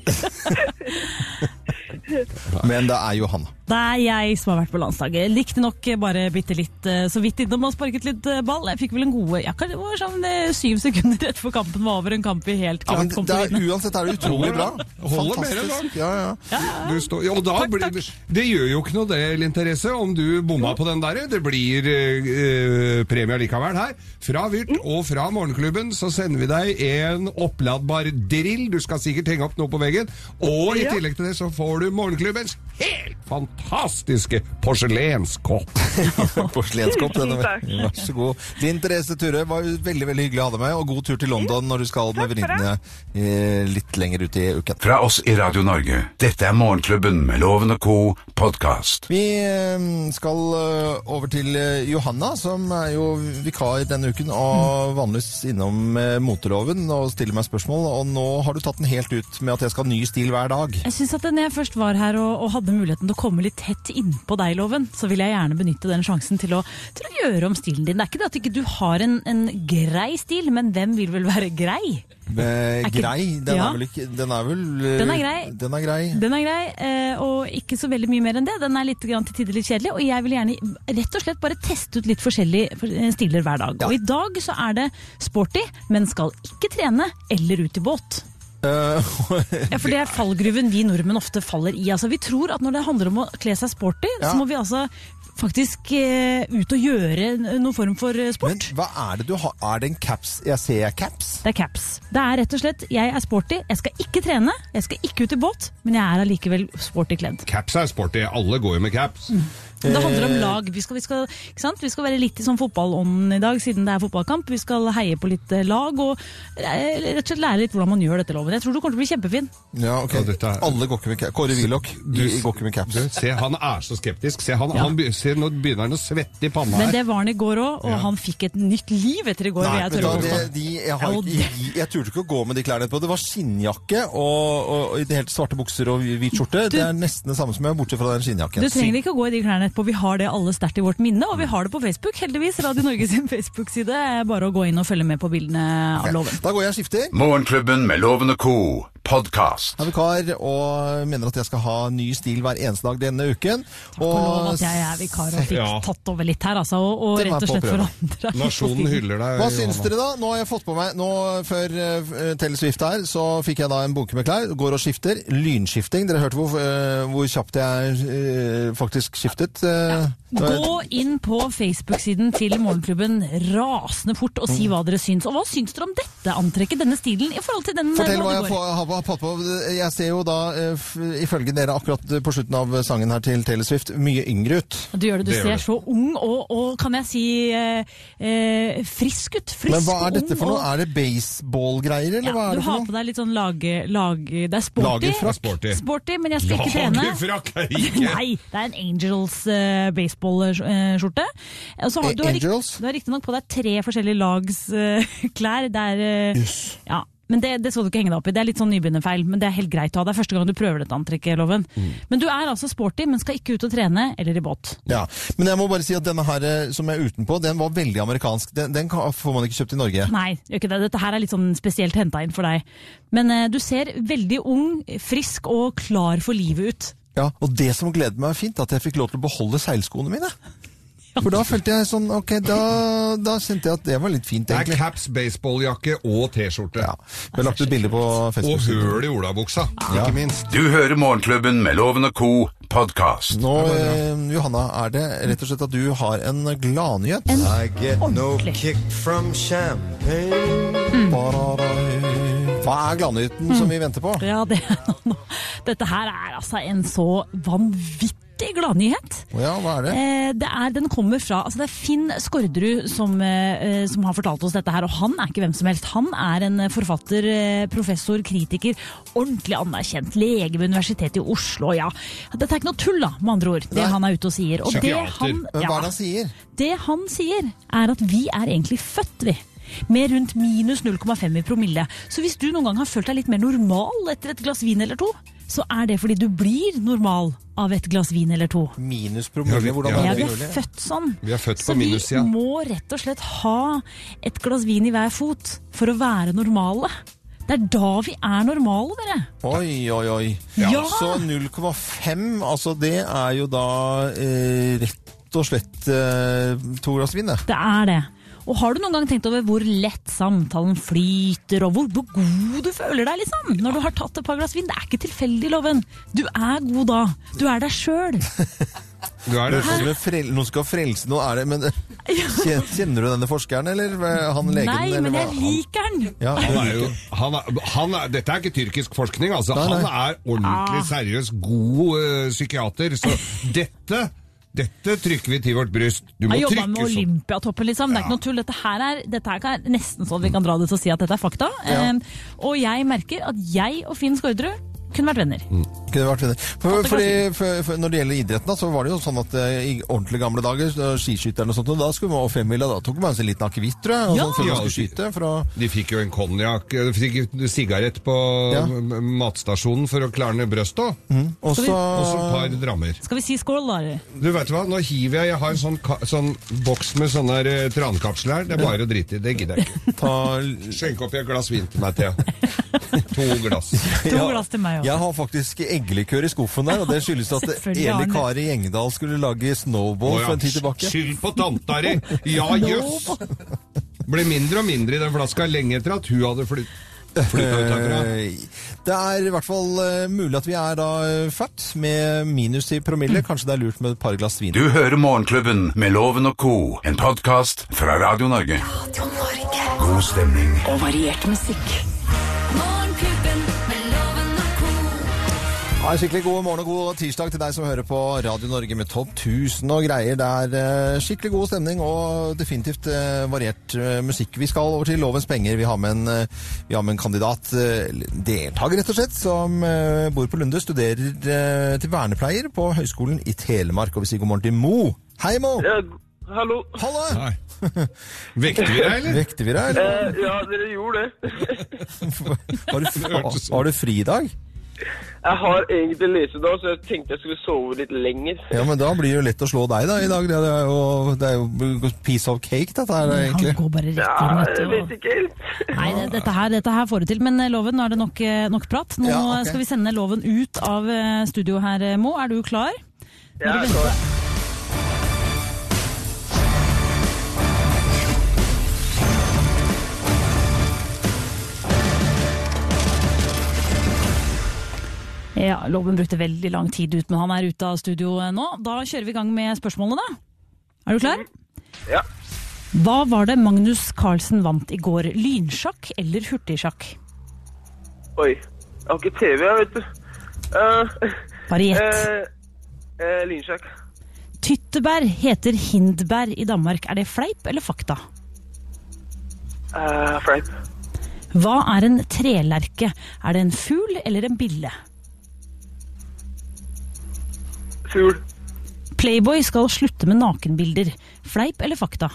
[SPEAKER 2] men det er Johanna.
[SPEAKER 3] Det er jeg som har vært på landslaget. Riktignok bare bitte litt eh, så vidt innom og sparket litt eh, ball. Jeg fikk vel en gode ja, det var sånn eh, syv sekunder rett før kampen var over. En kamp vi helt
[SPEAKER 2] Ja, men
[SPEAKER 3] klart kom
[SPEAKER 2] det
[SPEAKER 3] til å
[SPEAKER 2] er,
[SPEAKER 3] vinne.
[SPEAKER 2] uansett er det utrolig bra.
[SPEAKER 4] Holder mer enn
[SPEAKER 2] Fantastisk. Ja, ja.
[SPEAKER 4] Du står, ja, og da blir, det- Det gjør jo ikke noe det, Linn Therese, om du bomma på den der. Det blir eh, eh, premie likevel her. Fra Vyrt
[SPEAKER 3] Mm.
[SPEAKER 4] og fra Morgenklubben så sender vi deg en oppladbar drill. Du skal sikkert henge opp noe på veggen. Og i tillegg til det så får du Morgenklubbens helt fantastiske porselenskopp.
[SPEAKER 2] Porselenskopp.
[SPEAKER 7] Tusen
[SPEAKER 2] denne-
[SPEAKER 7] takk.
[SPEAKER 2] Vær så god. Linn Therese Turøy var veldig veldig hyggelig å ha deg med, og god tur til London når du skal med
[SPEAKER 7] Takk for
[SPEAKER 2] venninnene eh, litt lenger ut i uken.
[SPEAKER 1] Fra oss i Radio Norge Dette er Morgenklubben med Loven og Co podcast
[SPEAKER 2] Vi eh, skal eh, over til eh, Johanna, som er jo vikar denne uken og vanligvis innom eh, moteloven og stiller meg spørsmål. Og nå har du tatt den helt ut med at jeg skal ha ny stil hver dag.
[SPEAKER 3] Jeg synes at Når jeg først var her og, og hadde muligheten til å komme litt tett innpå deg, Loven, så ville jeg gjerne benytte den sjansen til å, til å gjøre om stilen din. Det er ikke det at ikke du har en, en grei stil, men hvem vil vel være grei?
[SPEAKER 2] Eh,
[SPEAKER 3] Er ikke-
[SPEAKER 2] grei, den
[SPEAKER 3] Ja.
[SPEAKER 2] er vel ikke Den er vel eh,
[SPEAKER 3] Den er grei.
[SPEAKER 2] Den er grei.
[SPEAKER 3] Den er grei, eh, og ikke så veldig mye mer enn det. Den er litt grann til tider litt kjedelig, og jeg vil gjerne rett og slett bare teste ut litt forskjellige for- eh, stiler hver dag. Og i dag så er det sporty, men skal ikke trene eller ut i båt.
[SPEAKER 2] Eh,
[SPEAKER 3] Ja, for det er fallgruven vi nordmenn ofte faller i. Altså, vi tror at når det handler om å kle seg sporty,
[SPEAKER 2] Ja.
[SPEAKER 3] så må vi altså faktisk eh, ut og gjøre n- noen form for eh, sport.
[SPEAKER 2] men hva er det du har? Er det en caps? Jeg ser caps.
[SPEAKER 3] Det er caps. Det er rett og slett, jeg er sporty, jeg skal ikke trene, jeg skal ikke ut i båt, men jeg er allikevel sporty kledd. Mm.
[SPEAKER 4] Caps er sporty. Alle går jo med caps.
[SPEAKER 3] Det handler
[SPEAKER 4] Eh.
[SPEAKER 3] om lag. Vi skal, vi skal, ikke sant? Vi skal være litt i sånn fotballånden i dag, siden det er fotballkamp. Vi skal heie på litt eh, lag og eh, rett og slett lære litt hvordan man gjør dette loven. Jeg tror du kommer til å bli kjempefin.
[SPEAKER 2] Ja, ok.
[SPEAKER 4] Ja, dette er-
[SPEAKER 2] Alle går ikke med caps. Kåre Willoch
[SPEAKER 4] Du-
[SPEAKER 2] de går ikke med caps.
[SPEAKER 4] Du, se, han er så skeptisk. Se, han, han be- se, nå begynner han å svette i panna
[SPEAKER 3] Men
[SPEAKER 4] her.
[SPEAKER 3] det var han i går òg, og
[SPEAKER 4] Ja.
[SPEAKER 3] han fikk et nytt liv etter i går. vil
[SPEAKER 2] Nei,
[SPEAKER 3] jeg
[SPEAKER 2] vet du hva,
[SPEAKER 3] tørre å
[SPEAKER 2] det,
[SPEAKER 3] påstå.
[SPEAKER 2] de, jeg, har,
[SPEAKER 3] Ja, og
[SPEAKER 2] jeg, jeg turte ikke å gå med de klærne etterpå. Det var skinnjakke og, og, og i det helt svarte bukser og hvit skjorte. Det er nesten det samme som jeg, bortsett fra den skinnjakken.
[SPEAKER 3] Du trenger ikke å gå i de klærne etterpå, vi har det alle sterkt i vårt minne, og vi har det på Facebook, heldigvis. Radio Norge sin Facebook-side er bare å gå inn og følge med på bildene av loven.
[SPEAKER 2] Da går jeg og skifter.
[SPEAKER 1] Morgenklubben med Loven og Co. podcast.
[SPEAKER 2] er vikar og mener at jeg skal ha ny stil hver eneste dag denne uken.
[SPEAKER 3] Takk og lov at jeg er vikar og fikk
[SPEAKER 4] Ja.
[SPEAKER 3] tatt over litt her, altså, og, og
[SPEAKER 2] Det var
[SPEAKER 3] rett og
[SPEAKER 2] på
[SPEAKER 3] slett
[SPEAKER 2] prøve.
[SPEAKER 3] forandra.
[SPEAKER 4] Nasjonen hyller deg.
[SPEAKER 2] Hva syns
[SPEAKER 4] Johanna.
[SPEAKER 2] dere da? Nå har jeg fått på meg nå Før eh, Telle Swift her, så fikk jeg da en bunke med klær. Går og skifter. Lynskifting. Dere hørte hvor, eh, hvor kjapt jeg eh, faktisk skiftet. eh. Det var-
[SPEAKER 3] Gå inn på Facebook-siden til Morgenklubben rasende fort og
[SPEAKER 2] Mm.
[SPEAKER 3] si hva dere syns. Og hva syns dere om dette antrekket, denne stilen, i forhold til den
[SPEAKER 2] Fortell
[SPEAKER 3] eh,
[SPEAKER 2] hva jeg
[SPEAKER 3] går?
[SPEAKER 2] får- har har fått på. Jeg ser jo da, eh, f- ifølge dere akkurat på slutten av sangen her til Taylor Swift, mye yngre ut.
[SPEAKER 3] Du gjør det, du
[SPEAKER 4] Det gjør
[SPEAKER 3] ser
[SPEAKER 4] det.
[SPEAKER 3] så ung og, og kan jeg si eh, eh, frisk ut. Frisk
[SPEAKER 2] Men hva er dette
[SPEAKER 3] ung
[SPEAKER 2] for noe?
[SPEAKER 3] og-
[SPEAKER 2] Er det baseballgreier, eller
[SPEAKER 3] Ja,
[SPEAKER 2] hva er
[SPEAKER 3] du
[SPEAKER 2] det
[SPEAKER 3] har
[SPEAKER 2] for
[SPEAKER 3] på
[SPEAKER 2] noe?
[SPEAKER 3] deg litt sånn lag... lag det er sporty.
[SPEAKER 2] Lagerfrakk.
[SPEAKER 4] Sporty.
[SPEAKER 3] Sporty, men jeg skal ikke trene.
[SPEAKER 4] Lagerfrakk er ikke
[SPEAKER 3] Nei, det er en Angels eh, baseballskjorte. Og så har-
[SPEAKER 2] Eh,
[SPEAKER 3] Du har, rikt-
[SPEAKER 2] Angels?
[SPEAKER 3] du har riktignok på deg tre forskjellige lags eh, klær. Det er eh, ja. Men det, det skal du ikke henge deg opp i. Det er litt sånn nybegynnerfeil, men det er helt greit å ha. Det er første gang du prøver dette antrekket, Loven. Men du er altså sporty, men skal ikke ut og trene eller i båt.
[SPEAKER 2] Ja, Men jeg må bare si at denne her eh, som jeg er utenpå, den var veldig amerikansk. Den, den kan, får man ikke kjøpt i Norge.
[SPEAKER 3] Nei, gjør ikke det. dette her er litt sånn spesielt henta inn for deg. Men eh, du ser veldig ung, frisk og klar for livet ut.
[SPEAKER 2] Ja, Og det som gledet meg fint, at jeg fikk lov til å beholde seilskoene mine. For da følte jeg sånn Ok, da, da kjente jeg at det var litt fint,
[SPEAKER 4] Det er
[SPEAKER 2] egentlig.
[SPEAKER 4] caps, baseballjakke og T-skjorte.
[SPEAKER 2] Ja. Vi har lagt ut bilde på
[SPEAKER 4] Og
[SPEAKER 2] Facebook.
[SPEAKER 4] høl i olabuksa, ikke minst.
[SPEAKER 1] Du hører Morgenklubben med Loven og Co. podcast.
[SPEAKER 2] Nå, eh, Johanna, er det rett og slett at du har en gladnyhet?
[SPEAKER 8] I get no
[SPEAKER 3] Ordentlig.
[SPEAKER 8] kick from champagne.
[SPEAKER 2] Hva er gladnyheten som vi venter på?
[SPEAKER 3] Ja, det, dette her er altså en så vanvittig gladnyhet.
[SPEAKER 2] Ja, hva er det?
[SPEAKER 3] Eh, det er, den kommer fra altså Det er Finn Skårderud som, eh, eh, som har fortalt oss dette her, og han er ikke hvem som helst. Han er en eh, forfatter, eh, professor, kritiker, ordentlig anerkjent. Lege ved Universitetet i Oslo, ja. Dette er ikke noe tull, da, med andre ord, det
[SPEAKER 2] Nei.
[SPEAKER 3] han er ute og sier. Og det
[SPEAKER 4] Psykiater.
[SPEAKER 3] han,
[SPEAKER 2] Men Hva er det
[SPEAKER 3] ja,
[SPEAKER 2] han sier?
[SPEAKER 3] det han sier, er at vi er egentlig født, vi. Med rundt minus 0,5 i promille. Så hvis du noen gang har følt deg litt mer normal etter et glass vin eller to, så er det fordi du blir normal av et glass vin eller to.
[SPEAKER 4] Ja,
[SPEAKER 2] Minuspromille?
[SPEAKER 4] vi-
[SPEAKER 2] Hvordan
[SPEAKER 4] ja,
[SPEAKER 2] er
[SPEAKER 3] Ja,
[SPEAKER 2] det
[SPEAKER 3] vi
[SPEAKER 2] mulig?
[SPEAKER 3] er født sånn.
[SPEAKER 4] Vi er født
[SPEAKER 3] så
[SPEAKER 4] på minussida.
[SPEAKER 3] vi må rett og slett ha et glass vin i hver fot for å være normale. Det er da vi er normale, dere.
[SPEAKER 2] Oi, oi, oi.
[SPEAKER 3] Ja.
[SPEAKER 2] Så 0,5, altså det er jo da eh, rett og slett eh, to glass vin, det.
[SPEAKER 3] Det er det. Og har du noen gang tenkt over hvor lett samtalen flyter, og hvor, hvor god du føler deg, liksom? Når du har tatt et par glass vin. Det er ikke tilfeldig, Loven. Du er god da. Du er deg sjøl.
[SPEAKER 4] Du er det.
[SPEAKER 2] Høres ut som en frel- Noen skal frelse noen, er det Men eh, kjenner du denne forskeren, eller eh, han legen?
[SPEAKER 3] Nei,
[SPEAKER 2] eller
[SPEAKER 3] men
[SPEAKER 2] hva-
[SPEAKER 3] jeg liker den.
[SPEAKER 2] ja,
[SPEAKER 4] Han er jo, han er, han er, dette er ikke tyrkisk forskning, altså.
[SPEAKER 2] Nei, nei.
[SPEAKER 4] Han er ordentlig
[SPEAKER 3] Ah.
[SPEAKER 4] seriøs, god eh, psykiater. Så dette, dette trykker vi til vårt bryst. Du må
[SPEAKER 3] Jeg jobba med
[SPEAKER 4] trykke sånn.
[SPEAKER 3] Olympiatoppen, liksom. Det er ikke noe tull. Dette her er, dette her er nesten sånn vi kan dra det til å si at dette er fakta. Eh, og jeg merker at jeg og Finn Skårderud kunne vært venner.
[SPEAKER 2] Kunne vært venner. For,
[SPEAKER 3] Åtte
[SPEAKER 2] fordi, for, for, når det gjelder idretten, da, så var det jo sånn at eh, i ordentlig gamle dager, da skiskytterne og sånt, og da skulle man og femmila, da tok man seg en liten akevitt, tror jeg, og
[SPEAKER 3] Ja.
[SPEAKER 2] sånn, før
[SPEAKER 4] Ja,
[SPEAKER 2] man skulle skyte. For å,
[SPEAKER 4] De fikk jo en konjakk, eh, de fikk en sigarett på
[SPEAKER 2] Ja. Mm.
[SPEAKER 4] m- m- matstasjonen for å klarne brøstet.
[SPEAKER 2] og så
[SPEAKER 4] Og så et par drammer.
[SPEAKER 3] Skal vi si skål, da? eller?
[SPEAKER 4] Du vet hva, nå hiver jeg Jeg har en sånn, ka sånn boks med sånne her, eh, trankapsler her. Det er bare å drite i. Det gidder jeg ikke.
[SPEAKER 2] ta
[SPEAKER 4] Skjenk oppi et glass vin til meg, Thea. To glass.
[SPEAKER 3] To glass til meg òg.
[SPEAKER 2] Jeg har faktisk eggelikør i skuffen der, og det skyldes at
[SPEAKER 3] Selvfølgelig
[SPEAKER 2] Eli
[SPEAKER 3] har han det.
[SPEAKER 2] Kari Gjengedal skulle lage snowball
[SPEAKER 4] Å ja,
[SPEAKER 2] for en tid tilbake.
[SPEAKER 4] Skyld på tanta di! Ja, jøss! Ble mindre og mindre i den flaska lenge etter at hun hadde flytt. Flytta ut herfra.
[SPEAKER 2] Eh, Det er i hvert fall eh, mulig at vi er da eh, født med minus i promille.
[SPEAKER 3] Mm.
[SPEAKER 2] Kanskje det er lurt med et par glass vin.
[SPEAKER 1] Du hører Morgenklubben med Loven og Co. En podcast fra Radio Norge.
[SPEAKER 9] Radio Norge.
[SPEAKER 1] God stemning.
[SPEAKER 9] Og variert musikk. Morgenklubben med Loven og co.
[SPEAKER 2] Ha en skikkelig god morgen og god tirsdag til deg som hører på Radio Norge med topp 1000 og greier. Det er eh, skikkelig god stemning og definitivt eh, variert eh, musikk. Vi skal over til Lovens penger. Vi har med en, eh, vi har med en kandidat, eh, eller deltaker rett og slett, som eh, bor på Lunde, studerer eh, til vernepleier på Høgskolen i Telemark. Og vi sier god morgen til Mo. Hei, Mo!
[SPEAKER 9] Ja, Eh, hallo.
[SPEAKER 2] Halla!
[SPEAKER 4] Nei. Vekter vi deg, eller?
[SPEAKER 2] Vekter vi deg, eller?
[SPEAKER 9] Eh, ja, dere gjorde det.
[SPEAKER 2] Har du,
[SPEAKER 4] hørtes sånn.
[SPEAKER 2] har du fri i dag?
[SPEAKER 9] Jeg har egentlig lesedag, så jeg tenkte jeg skulle sove litt lenger.
[SPEAKER 2] Ja, men da blir det jo lett å slå deg da i dag. Det er jo, det er jo piece of cake, dette her, egentlig.
[SPEAKER 3] Han går bare rett inn,
[SPEAKER 9] Ja,
[SPEAKER 3] vet
[SPEAKER 9] jeg
[SPEAKER 3] du. og-
[SPEAKER 9] vet ikke helt.
[SPEAKER 3] Nei, det, dette, her, dette her får du til. Men eh, Loven, nå er det nok, eh, nok prat. Nå
[SPEAKER 2] Ja, ok.
[SPEAKER 3] skal vi sende Loven ut av eh, studio her, eh, Mo. Er du klar?
[SPEAKER 9] Ja, jeg er klar.
[SPEAKER 3] Ja, Loven brukte veldig lang tid ut, men han er ute av studio eh, nå. Da kjører vi i gang med spørsmålene, da. Er du klar?
[SPEAKER 9] Ja.
[SPEAKER 3] Hva var det Magnus Carlsen vant i går? Lynsjakk eller hurtigsjakk?
[SPEAKER 9] Oi, jeg har ikke TV, jeg vet du. Eh,
[SPEAKER 3] Bare gjett.
[SPEAKER 9] eh, eh, Lynsjakk.
[SPEAKER 3] Tyttebær heter hindbær i Danmark. Er det fleip eller fakta?
[SPEAKER 9] Eh, Fleip.
[SPEAKER 3] Hva er en trelerke? Er det en fugl eller en bille?
[SPEAKER 9] Fugl.
[SPEAKER 3] Playboy skal slutte med nakenbilder. Fleip eller fakta?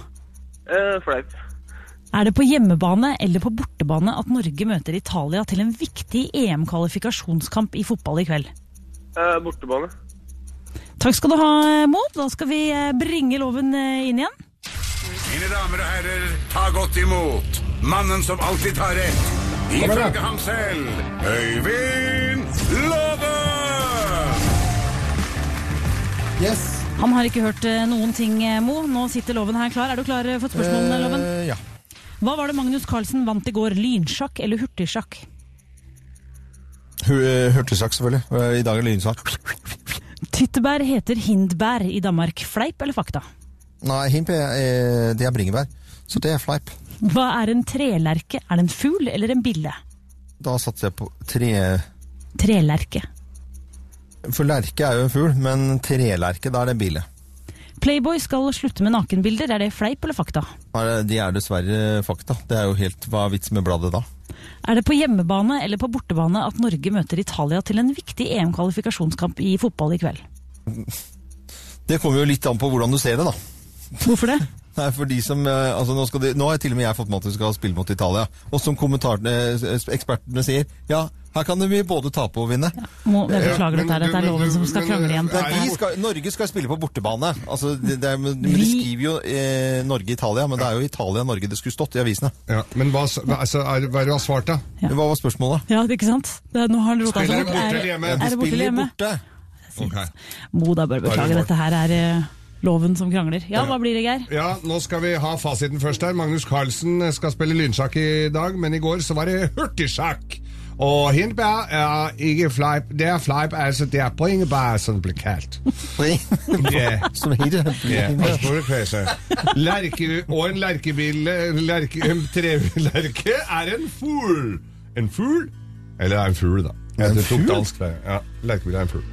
[SPEAKER 9] Eh, Fleip.
[SPEAKER 3] Er det på hjemmebane eller på bortebane at Norge møter Italia til en viktig EM-kvalifikasjonskamp i fotball i kveld?
[SPEAKER 9] Eh, bortebane.
[SPEAKER 3] Takk skal du ha, Mo. Da skal vi eh, bringe loven eh, inn igjen.
[SPEAKER 1] Mine damer og herrer, ta godt imot mannen som alltid tar rett. Ifølge ham selv Øyvind Låve!
[SPEAKER 2] Yes!
[SPEAKER 3] Han har ikke hørt eh, noen ting, eh, Mo. Nå sitter loven her klar. Er du klar eh, for spørsmålene, loven?
[SPEAKER 2] Eh, ja.
[SPEAKER 3] Hva var det Magnus Carlsen vant i går? Lynsjakk eller hurtigsjakk?
[SPEAKER 2] Hu- Hurtigsjakk, selvfølgelig. Eh, I dag er det lynsjakk.
[SPEAKER 3] Tyttebær heter hindbær i Danmark. Fleip eller fakta?
[SPEAKER 2] Nei, himp er, eh, det er bringebær. Så det er fleip.
[SPEAKER 3] Hva er en trelerke? Er det en fugl eller en bille?
[SPEAKER 2] Da satser jeg på tre...
[SPEAKER 3] Trelerke.
[SPEAKER 2] For lerke er jo en fugl, men trelerke, da er det en bille.
[SPEAKER 3] Playboy skal slutte med nakenbilder. Er det fleip eller fakta?
[SPEAKER 2] Da er det- De er dessverre fakta. Det er jo helt Hva er vitsen med bladet da?
[SPEAKER 3] Er det på hjemmebane eller på bortebane at Norge møter Italia til en viktig EM-kvalifikasjonskamp i fotball i kveld?
[SPEAKER 2] Det kommer jo litt an på hvordan du ser det, da.
[SPEAKER 3] Hvorfor det?
[SPEAKER 2] Nei, for de som, eh, altså nå, skal de, nå har jeg til og med jeg fått med at vi skal spille mot Italia. Og som kommentarene, eh, ekspertene sier, ja, her kan vi både tape og vinne.
[SPEAKER 3] Må, jeg beklager
[SPEAKER 4] men-
[SPEAKER 3] dette her, dette er
[SPEAKER 4] men-
[SPEAKER 3] loven som skal
[SPEAKER 4] men-
[SPEAKER 3] krangle igjen.
[SPEAKER 2] Det
[SPEAKER 4] men-
[SPEAKER 2] er vi skal, Norge skal spille på bortebane. Altså, det, det er, men men de
[SPEAKER 3] Vi-
[SPEAKER 2] skriver jo eh, Norge-Italia, men det er jo Italia-Norge det skulle stått i avisene.
[SPEAKER 4] Ja, men hva, s- hva- altså, er, hva er det du har svart, da?
[SPEAKER 3] Ja.
[SPEAKER 2] Hva var spørsmålet?
[SPEAKER 3] Ja, det er ikke sant? Det er, nå har han rota
[SPEAKER 4] Spiller
[SPEAKER 3] seg
[SPEAKER 4] de
[SPEAKER 3] bort.
[SPEAKER 4] borte
[SPEAKER 3] Er,
[SPEAKER 4] eller hjemme?
[SPEAKER 3] er
[SPEAKER 4] De
[SPEAKER 3] det borte eller hjemme?
[SPEAKER 2] borte.
[SPEAKER 4] Ok.
[SPEAKER 3] Mo, da bør
[SPEAKER 4] Da er det
[SPEAKER 3] beklage.
[SPEAKER 4] mål.
[SPEAKER 3] Dette her er eh, loven som krangler. Ja, hva blir det, Geir?
[SPEAKER 4] Ja, nå skal vi ha fasiten først her. Magnus Carlsen eh, skal spille lynsjakk i dag, men i går så var det hurtigsjakk. Og hindbær er ikke fleip. Det er fleip, altså det er bringebær som det blir kalt. Yeah.
[SPEAKER 2] Som hir.
[SPEAKER 4] Yeah, pass på det, Kvese. Lerke og en lerkebille lerke, En trelerke er en fugl. En fugl? Eller en fugl, da.
[SPEAKER 2] En
[SPEAKER 4] det tok
[SPEAKER 2] fugl?
[SPEAKER 4] dansk, det. Ja, lerkebille er en fugl.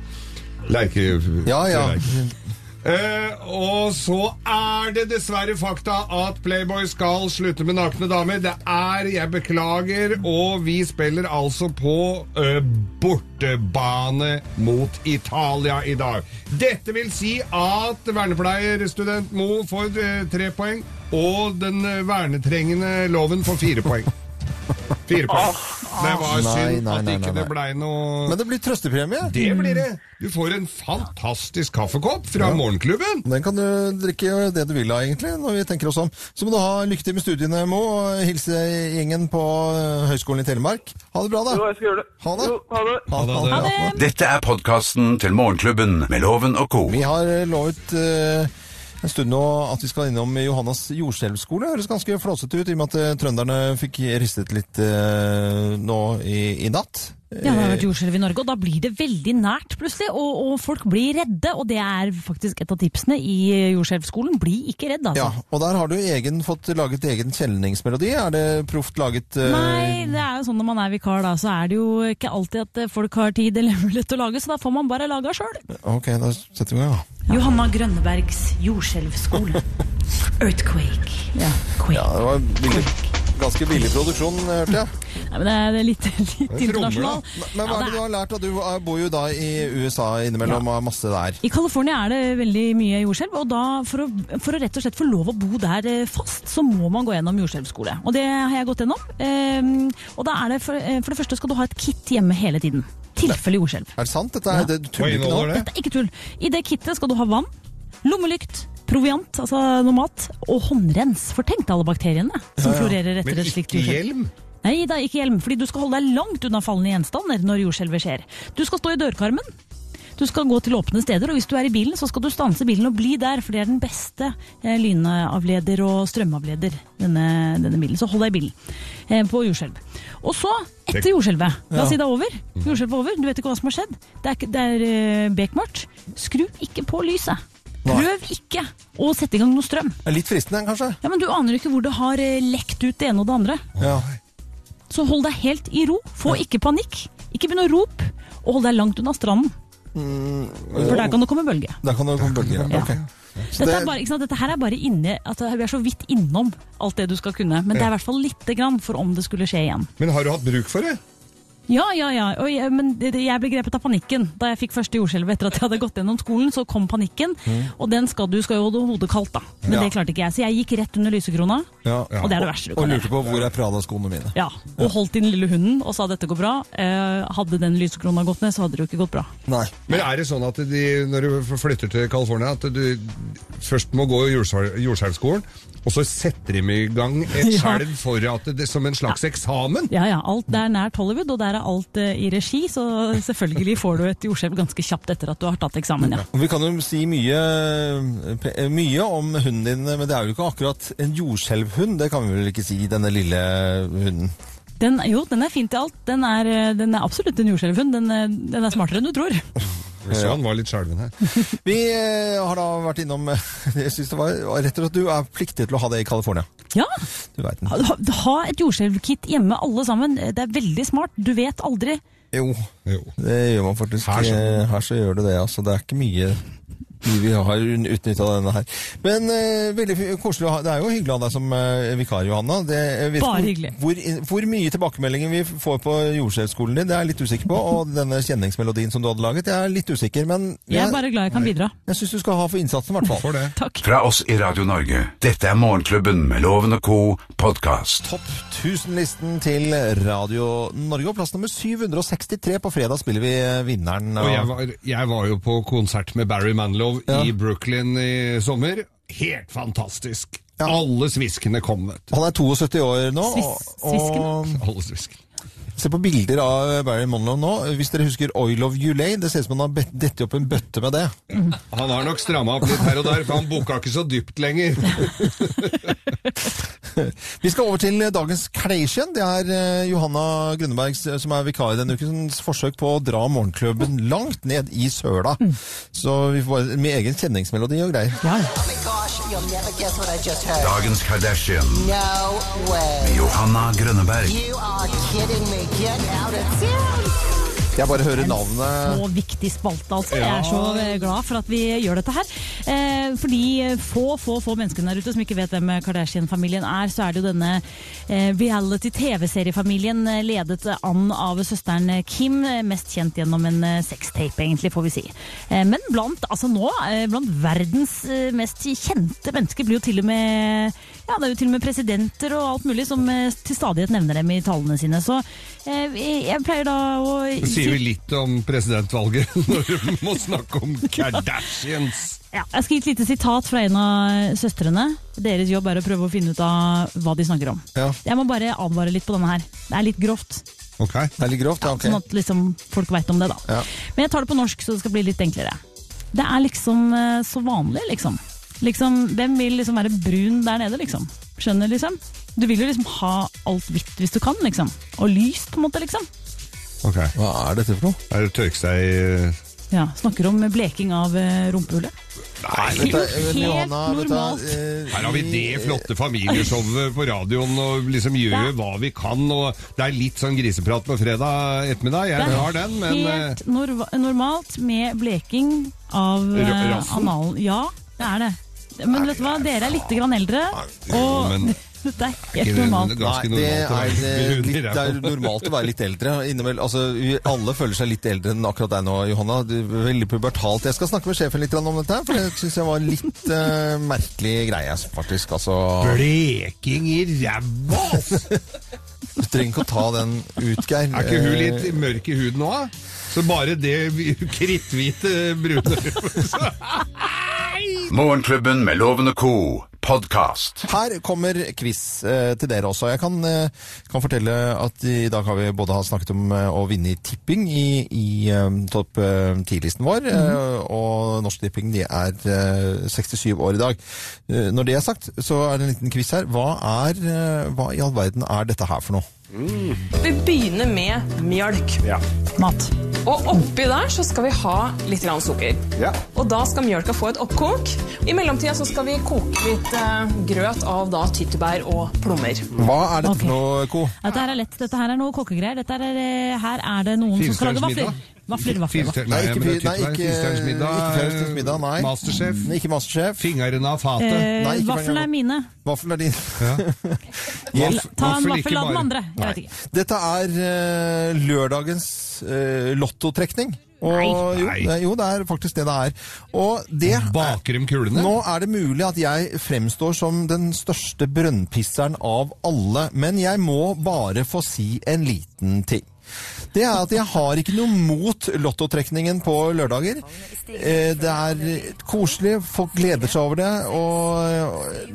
[SPEAKER 4] Lerke...
[SPEAKER 2] Ja, ja.
[SPEAKER 4] trelerke. Eh, og så er det dessverre fakta at Playboy skal slutte med nakne damer. Det er Jeg beklager. Og vi spiller altså på eh, bortebane mot Italia i dag. Dette vil si at vernepleierstudent Mo får eh, tre poeng, og den eh, vernetrengende Loven får fire poeng. Fire poeng. Det var
[SPEAKER 2] Ah, Nei,
[SPEAKER 4] synd
[SPEAKER 2] nei,
[SPEAKER 4] at
[SPEAKER 2] nei,
[SPEAKER 4] ikke
[SPEAKER 2] nei,
[SPEAKER 4] det blei noe
[SPEAKER 2] Men det blir trøstepremie. Mm.
[SPEAKER 4] Det blir det. Du får en fantastisk kaffekopp fra Morgenklubben.
[SPEAKER 2] Den kan du drikke det du vil av, egentlig, når vi tenker oss om. Så må du ha lykke til med studiene, Mo, og hilse gjengen på eh, Høgskolen i Telemark. Ha det bra, da.
[SPEAKER 9] Jo, jeg skal gjøre det.
[SPEAKER 2] Ha det.
[SPEAKER 9] Jo, ha det.
[SPEAKER 2] det.
[SPEAKER 3] Ha det!
[SPEAKER 1] Dette er podkasten til Morgenklubben med Loven og co.
[SPEAKER 2] Vi har eh, lovet eh, en stund nå at vi skal innom Johannas jordskjelvskole. Høres ganske flåsete ut, i og med at eh, trønderne fikk ristet litt eh, nå i, i natt.
[SPEAKER 3] Ja, det har vært jordskjelv i Norge, og da blir det veldig nært plutselig, og, og folk blir redde. Og det er faktisk et av tipsene i jordskjelvskolen. Bli ikke redd,
[SPEAKER 2] Ja,
[SPEAKER 3] altså.
[SPEAKER 2] og der har du egen, fått laget egen kjelningsmelodi. Er det proft laget eh,
[SPEAKER 3] Nei, det er jo sånn når man er vikar, da, så er det jo ikke alltid at eh, folk har tid eller mulighet til å lage, så da får man bare laga sjøl.
[SPEAKER 2] Ok, da setter vi i gang. da.
[SPEAKER 10] Johanna Grønnebergs jordskjelvskole. Earthquake. Quake.
[SPEAKER 2] Ja, det var billig, ganske billig produksjon, hørte jeg.
[SPEAKER 3] Nei, men det er- det er litt, litt internasjonal.
[SPEAKER 2] Men hva
[SPEAKER 3] Ja,
[SPEAKER 2] er
[SPEAKER 3] det
[SPEAKER 2] det du
[SPEAKER 3] er-
[SPEAKER 2] har lært? da? Du eh, bor jo da i USA innimellom og har masse der.
[SPEAKER 3] I California er det veldig mye jordskjelv, og da for å, for å rett og slett få lov å bo der eh, fast, så må man gå gjennom jordskjelvskole. Og det har jeg gått gjennom. Ehm, og da er det for, eh, for det første skal du ha et kit hjemme hele tiden. Tilfelle jordskjelv.
[SPEAKER 2] Er det sant? Dette er, det, du
[SPEAKER 4] Hva
[SPEAKER 2] tuller ikke nå?
[SPEAKER 4] inneholder det?
[SPEAKER 3] Dette er ikke tull. I det kittet skal du ha vann, lommelykt, proviant, altså noe mat, og håndrens. For tenk deg alle bakteriene som florerer etter
[SPEAKER 4] Men
[SPEAKER 3] et slikt
[SPEAKER 4] ikke
[SPEAKER 3] jordskjelv.
[SPEAKER 4] hjelm?
[SPEAKER 3] Nei, da, ikke hjelm, fordi du skal holde deg langt unna fallende gjenstander når jordskjelvet skjer. Du skal stå i dørkarmen. Du skal gå til åpne steder, og hvis du er i bilen, så skal du stanse bilen og bli der, for det er den beste eh, lynavleder og strømavleder, denne, denne bilen. Så hold deg i bilen eh, på jordskjelv. Og så, etter jordskjelvet, la oss si det er over, jordskjelvet er over, du vet ikke hva som har skjedd, det er, ikke- det er eh, bekmørkt, skru ikke på lyset. Prøv ikke å sette i gang noe strøm.
[SPEAKER 2] Er Litt fristende, kanskje?
[SPEAKER 3] Ja, men du aner ikke hvor det har eh, lekt ut det ene og det andre.
[SPEAKER 2] Ja.
[SPEAKER 3] Så hold deg helt i ro. Få ikke panikk. Ikke begynn å rope. Og hold deg langt unna stranden, for der kan det komme bølge.
[SPEAKER 2] Der kan det komme bølger.
[SPEAKER 3] Ja.
[SPEAKER 2] ja. Ok.
[SPEAKER 3] Dette, er bare, ikke sant? Dette her er bare inne at Vi er så vidt innom alt det du skal kunne, men det er i hvert fall lite grann for om det skulle skje igjen.
[SPEAKER 4] Men har du hatt bruk for det?
[SPEAKER 3] Ja, ja, ja. Og jeg, men det- det- jeg ble grepet av panikken da jeg fikk første jordskjelv etter at jeg hadde gått gjennom skolen. Så kom panikken, og den skal du skal jo holde hodet kaldt, da. Men
[SPEAKER 2] Ja.
[SPEAKER 3] det klarte ikke jeg. Så jeg gikk rett under lysekrona,
[SPEAKER 2] Ja.
[SPEAKER 3] og det er det verste du
[SPEAKER 2] Og
[SPEAKER 3] kan gjøre.
[SPEAKER 2] lurte på hvor er Prada-skoene mine.
[SPEAKER 3] Ja, og holdt i den lille hunden og sa dette går bra. Eh, hadde den lysekrona gått ned, så hadde det jo ikke gått bra.
[SPEAKER 2] Nei.
[SPEAKER 4] Men er det sånn at de, når du flytter til California, at du først må gå jordsal- jordskjelvskolen, og så setter de i gang et
[SPEAKER 3] Ja.
[SPEAKER 4] skjelv for at det, som en slags eksamen?
[SPEAKER 3] Ja, ja, alt det er nært Hollywood, og der er alt eh, i regi, så selvfølgelig får du et jordskjelv ganske kjapt etter at du har tatt eksamen, ja.
[SPEAKER 2] Og Vi kan jo si mye, eh, mye om hunden din, men det er jo ikke akkurat en jordskjelvhund. Det kan vi vel ikke si, denne lille hunden.
[SPEAKER 3] Den, jo, den er fin til alt. Den er, eh, den er absolutt en jordskjelvhund. Den, eh, den er smartere enn du tror.
[SPEAKER 4] Så han var litt skjelven her.
[SPEAKER 2] Vi eh, har da vært innom Jeg syns det var rett og slett du er pliktig til å ha det i California.
[SPEAKER 3] Ja,
[SPEAKER 2] Du veit den.
[SPEAKER 3] ha, ha et jordskjelvkit hjemme alle sammen. Det er veldig smart. Du vet aldri.
[SPEAKER 2] Jo,
[SPEAKER 4] Jo.
[SPEAKER 2] det gjør man faktisk.
[SPEAKER 4] Her så-
[SPEAKER 2] Eh, Her så gjør du det, altså. Det er ikke mye mye vi har utnytta denne her. Men eh, veldig fi- koselig å ha Det er jo hyggelig å ha deg som eh, vikar, Johanna. Det, jeg vet
[SPEAKER 3] Bare
[SPEAKER 2] ikke
[SPEAKER 3] hyggelig.
[SPEAKER 2] Hvor, hvor, hvor mye tilbakemeldinger vi får på jordskjelvskolen din, det er jeg litt usikker på. Og denne kjenningsmelodien som du hadde laget, jeg er litt usikker. Men
[SPEAKER 3] Jeg
[SPEAKER 2] jeg,
[SPEAKER 3] er bare glad jeg kan bidra.
[SPEAKER 2] jeg syns du skal ha for innsatsen, i hvert fall.
[SPEAKER 4] For det.
[SPEAKER 3] Takk.
[SPEAKER 1] Fra oss i Radio Norge. Dette er Morgenklubben med Loven og co. podkast.
[SPEAKER 2] Topp 1000-listen til Radio Norge. Og plass nummer 763 på fredag spiller vi eh, vinneren.
[SPEAKER 4] Og jeg var, jeg var jo på konsert med Barry Manilow i Brooklyn i sommer. Helt fantastisk! Alle sviskene kom, vet du.
[SPEAKER 2] Han er 72 år nå.
[SPEAKER 3] Svis-
[SPEAKER 2] og,
[SPEAKER 3] svisken.
[SPEAKER 4] Alle sviskene.
[SPEAKER 2] og se på bilder av Barry Monlow nå. Hvis dere husker Oil of Ulay, det ser ut som han har bet- dettet opp en bøtte med det.
[SPEAKER 4] Han har nok stramma opp litt her og der, for han boka ikke så dypt lenger.
[SPEAKER 2] Vi skal over til dagens Kleiskjen. Det er eh, Johanna Grønneberg s- som er vikar denne ukens forsøk på å dra morgenklubben langt ned i søla.
[SPEAKER 3] Mm.
[SPEAKER 2] Så vi får bare med egen kjenningsmelodi og greier.
[SPEAKER 3] Ja.
[SPEAKER 1] Dagens Kardashian. Med Johanna Grønneberg.
[SPEAKER 2] Jeg bare hører navnet.
[SPEAKER 3] så viktig spalte, altså. Jeg er så eh, glad for at vi gjør dette her. Eh, fordi eh, få, få, få menneskene der ute som ikke vet hvem eh, Kardashian-familien er, så er det jo denne eh, reality-TV-seriefamilien eh, ledet an av søsteren eh, Kim, eh, mest kjent gjennom en eh, sextape, egentlig, får vi si. Eh, men blant, altså nå, eh, blant verdens eh, mest kjente mennesker blir jo til og med ja, det er jo til og med presidenter og alt mulig som eh, til stadighet nevner dem i talene sine. Så eh, jeg pleier da å
[SPEAKER 4] Det sier vi litt om presidentvalget når vi må snakke om Kardashians.
[SPEAKER 3] Ja, jeg skal gi et lite sitat fra en av søstrene. Deres jobb er å prøve å finne ut av hva de snakker om.
[SPEAKER 2] Ja.
[SPEAKER 3] Jeg må bare advare litt på denne her. Det er litt grovt,
[SPEAKER 4] Ok.
[SPEAKER 2] Det er litt grovt, ja. ok.
[SPEAKER 3] sånn at liksom folk veit om det, da.
[SPEAKER 2] Ja.
[SPEAKER 3] Men jeg tar det på norsk, så det skal bli litt enklere. Det er liksom eh, så vanlig, liksom. Liksom, hvem vil liksom være brun der nede, liksom? Skjønner, liksom? Du vil jo liksom ha alt hvitt hvis du kan, liksom. Og lyst, på en måte, liksom.
[SPEAKER 2] Hva er dette for noe?
[SPEAKER 4] Er det tørksteig
[SPEAKER 3] Ja, Snakker om bleking av eh, rumpehullet.
[SPEAKER 4] Nei,
[SPEAKER 3] Helt
[SPEAKER 2] normalt. eh,
[SPEAKER 4] Her har vi det flotte familieshowet på radioen og liksom gjør hva vi kan. og Det er litt sånn griseprat på fredag ettermiddag. Jeg har den, men eh,
[SPEAKER 3] helt norva- normalt med bleking av eh,
[SPEAKER 4] Ra- rassen?
[SPEAKER 3] analen. Ja, det er det. Men vet du hva, dere er litt grann eldre, og
[SPEAKER 4] men-
[SPEAKER 3] dette er
[SPEAKER 4] ikke
[SPEAKER 3] helt
[SPEAKER 4] det
[SPEAKER 3] normalt.
[SPEAKER 4] ganske
[SPEAKER 2] Nei, det
[SPEAKER 4] normalt å
[SPEAKER 2] er,
[SPEAKER 4] være
[SPEAKER 2] eh,
[SPEAKER 4] brun i
[SPEAKER 2] litt, det er
[SPEAKER 4] ræva?
[SPEAKER 2] normalt å være litt eldre. Innevel, altså, vi alle føler seg litt eldre enn akkurat deg nå, Johanna. Du er veldig pubertalt. Jeg skal snakke med sjefen litt grann om dette, her, for det syns jeg var en litt eh, merkelig greie, faktisk. Altså,
[SPEAKER 4] Bleking i ræva! altså. ass!
[SPEAKER 2] du trenger ikke å ta den ut, Geir.
[SPEAKER 4] Er ikke hun litt
[SPEAKER 2] Eh.
[SPEAKER 4] mørk i huden nå? da? Så bare det kritthvite brune
[SPEAKER 1] Morgenklubben med Loven og Co. Podcast.
[SPEAKER 2] Her kommer quiz eh, til dere også. Jeg kan, eh, kan fortelle at i dag har vi både har snakket om eh, å vinne i tipping i, i eh, topp eh, 10-listen vår, eh, og Norsk Tipping de er eh, 67 år i dag. Eh, når det er sagt, så er det en liten quiz her. Hva, er, eh, hva i all verden er dette her for noe?
[SPEAKER 11] Vi begynner med mjølk.
[SPEAKER 3] Mat.
[SPEAKER 11] Og oppi der så skal vi ha litt grann sukker. Og da skal mjølka få et oppkok. I mellomtida så skal vi koke litt eh, grøt av da tyttebær og plommer.
[SPEAKER 2] Hva er dette
[SPEAKER 3] Ok.
[SPEAKER 2] for noe, Co?
[SPEAKER 3] Dette her er lett. Dette her er noe kokkegreier. Dette er, eh, her er det noen som skal lage
[SPEAKER 4] Firestjerners
[SPEAKER 3] vafler. Vafler, vafler, vafler.
[SPEAKER 4] Firestjerne-
[SPEAKER 2] Nei,
[SPEAKER 4] Nei,
[SPEAKER 2] ikke,
[SPEAKER 4] men det
[SPEAKER 2] fi-
[SPEAKER 4] er
[SPEAKER 2] nei,
[SPEAKER 4] tyttebær,
[SPEAKER 2] ikke,
[SPEAKER 4] firestjerners middag,
[SPEAKER 2] ikke Firestjerners middag, nei.
[SPEAKER 4] Masterchef.
[SPEAKER 2] Nei, Ikke Masterchef.
[SPEAKER 4] Fingrene av fatet.
[SPEAKER 2] Nei,
[SPEAKER 3] Eh,
[SPEAKER 2] ikke
[SPEAKER 3] Vaflene er
[SPEAKER 2] vafler.
[SPEAKER 3] mine.
[SPEAKER 2] Vaffel er din.
[SPEAKER 3] La- Ta en
[SPEAKER 4] Vaffel, ikke
[SPEAKER 3] vaffel av den
[SPEAKER 4] bare-
[SPEAKER 3] andre. Jeg vet ikke.
[SPEAKER 2] Dette er eh, lørdagens eh, lottotrekning. Og, jo,
[SPEAKER 4] Nei.
[SPEAKER 2] det- jo, det er faktisk det det er. Og det
[SPEAKER 4] Baker dem kulene?
[SPEAKER 2] Nå er det mulig at jeg fremstår som den største brønnpisseren av alle, men jeg må bare få si en liten ting. Det er at jeg har ikke noe mot lottotrekningen på lørdager. Eh, Det er koselig, folk gleder seg over det, og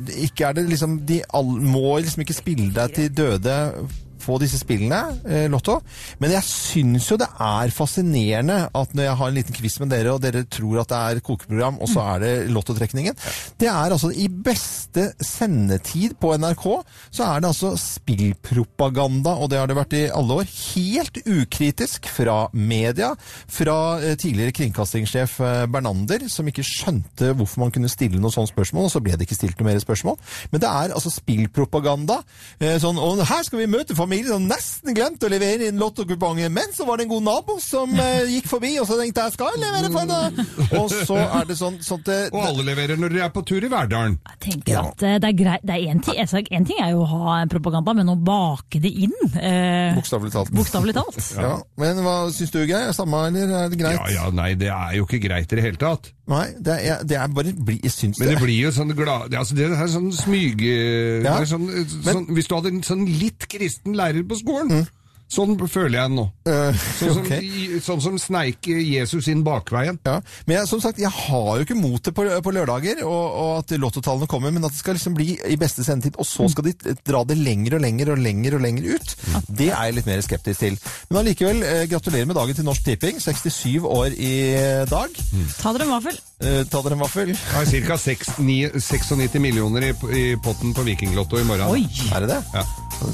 [SPEAKER 2] eh, ikke er det liksom De all, må liksom ikke spille deg til døde på disse spillene, eh, Lotto. Men jeg syns jo det er fascinerende at når jeg har en liten quiz med dere, og dere tror at det er kokeprogram, og så er det Lottotrekningen. Det er altså i beste sendetid på NRK, så er det altså spillpropaganda, og det har det vært i alle år. Helt ukritisk fra media, fra eh, tidligere kringkastingssjef eh, Bernander, som ikke skjønte hvorfor man kunne stille noe sånt spørsmål, og så ble det ikke stilt noe mer spørsmål. Men det er altså spillpropaganda. eh, Sånn, og her skal vi møte familien som nesten glemte å levere inn lottokupongen, men så var det en god nabo som eh, gikk forbi, og så tenkte jeg skal jeg levere for henne! Og så er det sånn, sånn at
[SPEAKER 4] Og
[SPEAKER 2] det,
[SPEAKER 4] alle leverer når dere er på tur i Verdalen.
[SPEAKER 3] Jeg tenker at eh, det er greit. Det er en ting, altså, en ting er jo å ha propaganda, men å bake det inn eh,
[SPEAKER 2] Bokstavelig talt.
[SPEAKER 3] Bokstavelig talt.
[SPEAKER 2] Ja, men hva syns du, Geir? Er det Samme, eller er det greit?
[SPEAKER 4] Ja, ja, nei, det er jo ikke greit i det hele tatt.
[SPEAKER 2] Nei, det er, det er bare bli- Jeg syns
[SPEAKER 4] Men
[SPEAKER 2] det
[SPEAKER 4] det
[SPEAKER 2] er
[SPEAKER 4] blir jo sånn glad... Altså, det er sånn smyge...
[SPEAKER 2] Ja.
[SPEAKER 4] Det er sånn, sånn, hvis du hadde en sånn litt kristen lærer på
[SPEAKER 2] Mm.
[SPEAKER 4] skolen, sånn føler jeg nå. Sånn som,
[SPEAKER 2] Eh, ok.
[SPEAKER 4] i- sånn som sneik Jesus inn bakveien.
[SPEAKER 2] Ja, men jeg, som sagt, jeg har jo ikke mot det på, på lørdager, og, og at lottotallene kommer, men at det skal liksom bli i beste sendetid, og så skal de t- dra det lenger og lenger og lenger og lenger ut, det er jeg litt mer skeptisk til. Men allikevel, eh, gratulerer med dagen til Norsk Tipping, 67 år i dag.
[SPEAKER 3] Ta dere en vaffel.
[SPEAKER 2] Eh, ta dere en vaffel.
[SPEAKER 4] Det er ca. 96 millioner i, i potten på Vikinglotto i morgen.
[SPEAKER 3] Oi!
[SPEAKER 2] Er det det?
[SPEAKER 4] Ja.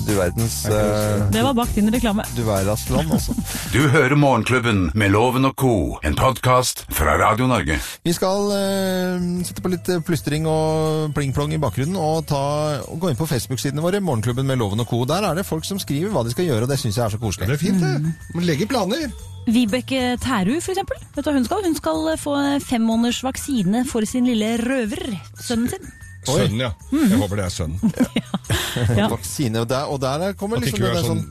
[SPEAKER 2] Du verdens... Eh,
[SPEAKER 3] Det var bakt inn i reklame.
[SPEAKER 2] du verdens land, altså.
[SPEAKER 1] Du hører Morgenklubben med Loven og Co. En podcast fra Radio Norge.
[SPEAKER 2] Vi skal eh, sitte på litt eh, plystring og pling-plong i bakgrunnen og, ta, og gå inn på Facebook-sidene våre, Morgenklubben med Loven og Co. Der er det folk som skriver hva de skal gjøre, og det syns jeg er så koselig.
[SPEAKER 4] Det er fint,
[SPEAKER 2] Mm.
[SPEAKER 4] det. Man legger planer.
[SPEAKER 3] Vibeke Tæru, for eksempel. Vet du hva hun skal? Hun skal få fem måneders vaksine for sin lille røver, sønnen sin.
[SPEAKER 4] Sønnen, ja.
[SPEAKER 2] Mm.
[SPEAKER 4] Jeg håper det er sønnen.
[SPEAKER 3] Ja.
[SPEAKER 2] vaksine. Og der, og der kommer
[SPEAKER 4] At
[SPEAKER 2] liksom
[SPEAKER 4] ikke
[SPEAKER 2] det
[SPEAKER 4] hun
[SPEAKER 2] der
[SPEAKER 4] er
[SPEAKER 2] sånn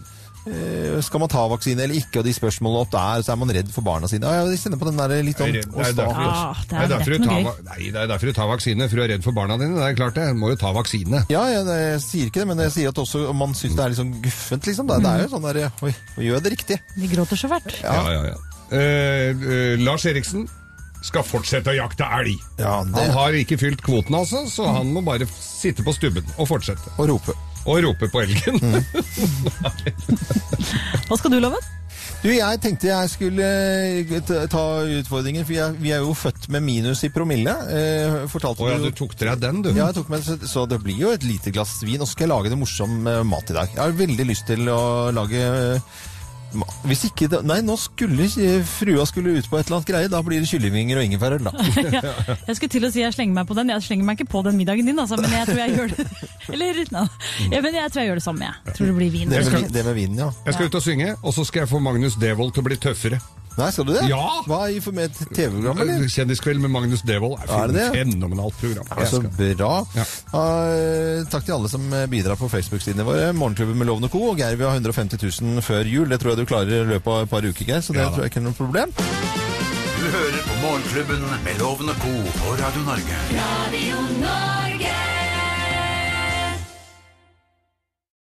[SPEAKER 2] eh, Skal man ta vaksine eller ikke, og de spørsmålene opp der, så er man redd for barna sine. Ja, jeg kjenner på den der litt
[SPEAKER 4] Det
[SPEAKER 2] sånn
[SPEAKER 4] er
[SPEAKER 2] og sta-
[SPEAKER 4] derfor-
[SPEAKER 3] Ah, det er
[SPEAKER 4] det er
[SPEAKER 3] rett
[SPEAKER 4] derfor du
[SPEAKER 3] noe
[SPEAKER 4] tar
[SPEAKER 3] gøy.
[SPEAKER 4] va- Nei, det er derfor du tar vaksine, for du er redd for barna dine. Det er klart det. Du må jo ta vaksine.
[SPEAKER 2] Ja, jeg, jeg sier ikke det, men jeg sier at også om man syns det er litt sånn guffent, liksom. Det, det er jo sånn der Oi, gjør jeg det riktig?
[SPEAKER 3] De gråter så fælt.
[SPEAKER 4] Ja, ja, ja. Eh, eh, Lars Eriksen skal fortsette å jakte elg.
[SPEAKER 2] Ja, det-
[SPEAKER 4] Han har ikke fylt kvoten, altså, så han må bare f- sitte på stubben og fortsette.
[SPEAKER 2] Og rope. Mm.
[SPEAKER 4] Og rope på elgen.
[SPEAKER 3] Hva skal du, Loven?
[SPEAKER 2] Du, jeg tenkte jeg skulle eh, ta- ta utfordringen, for jeg, vi er jo født med minus i promille. Eh, fortalte
[SPEAKER 4] Å ja,
[SPEAKER 2] du
[SPEAKER 4] du tok deg den, du.
[SPEAKER 2] Ja, jeg tok med, så, så det blir jo et lite glass vin, og så skal jeg lage det morsom eh, mat i dag. Jeg har veldig lyst til å lage eh, ma- hvis ikke det, Nei, nå skulle eh, frua skulle ut på et eller annet greie. Da blir det kyllingvinger og ingefærøl, da.
[SPEAKER 3] Jeg skulle til å si jeg slenger meg på den. Jeg slenger meg ikke på den middagen din, altså, men jeg tror jeg gjør det Eller, nei. Ja, men jeg tror jeg gjør det samme, jeg. Tror det blir vin.
[SPEAKER 4] Jeg skal-
[SPEAKER 2] vinen, ja.
[SPEAKER 4] Jeg skal ut og synge, og så skal jeg få Magnus Devold til å bli tøffere.
[SPEAKER 2] Nei, skal du det?
[SPEAKER 4] Ja!
[SPEAKER 2] Hva i for et TV-program, eller?
[SPEAKER 4] Kjendiskveld med Magnus Devold er,
[SPEAKER 2] Er det det?
[SPEAKER 4] fenomenalt program.
[SPEAKER 2] Ja, så bra. Eh, takk til alle som eh, bidrar på Facebook-sidene våre. Morgenklubben med Lovende Co. Og Geir, vi har 150 000 før jul. Det tror jeg du klarer i løpet av et par uker, Geir. Så det
[SPEAKER 1] Ja da.
[SPEAKER 2] tror jeg ikke er noe problem.
[SPEAKER 1] Du hører på Morgenklubben med Loven og Co. på Radio Norge.
[SPEAKER 10] Radio Norge.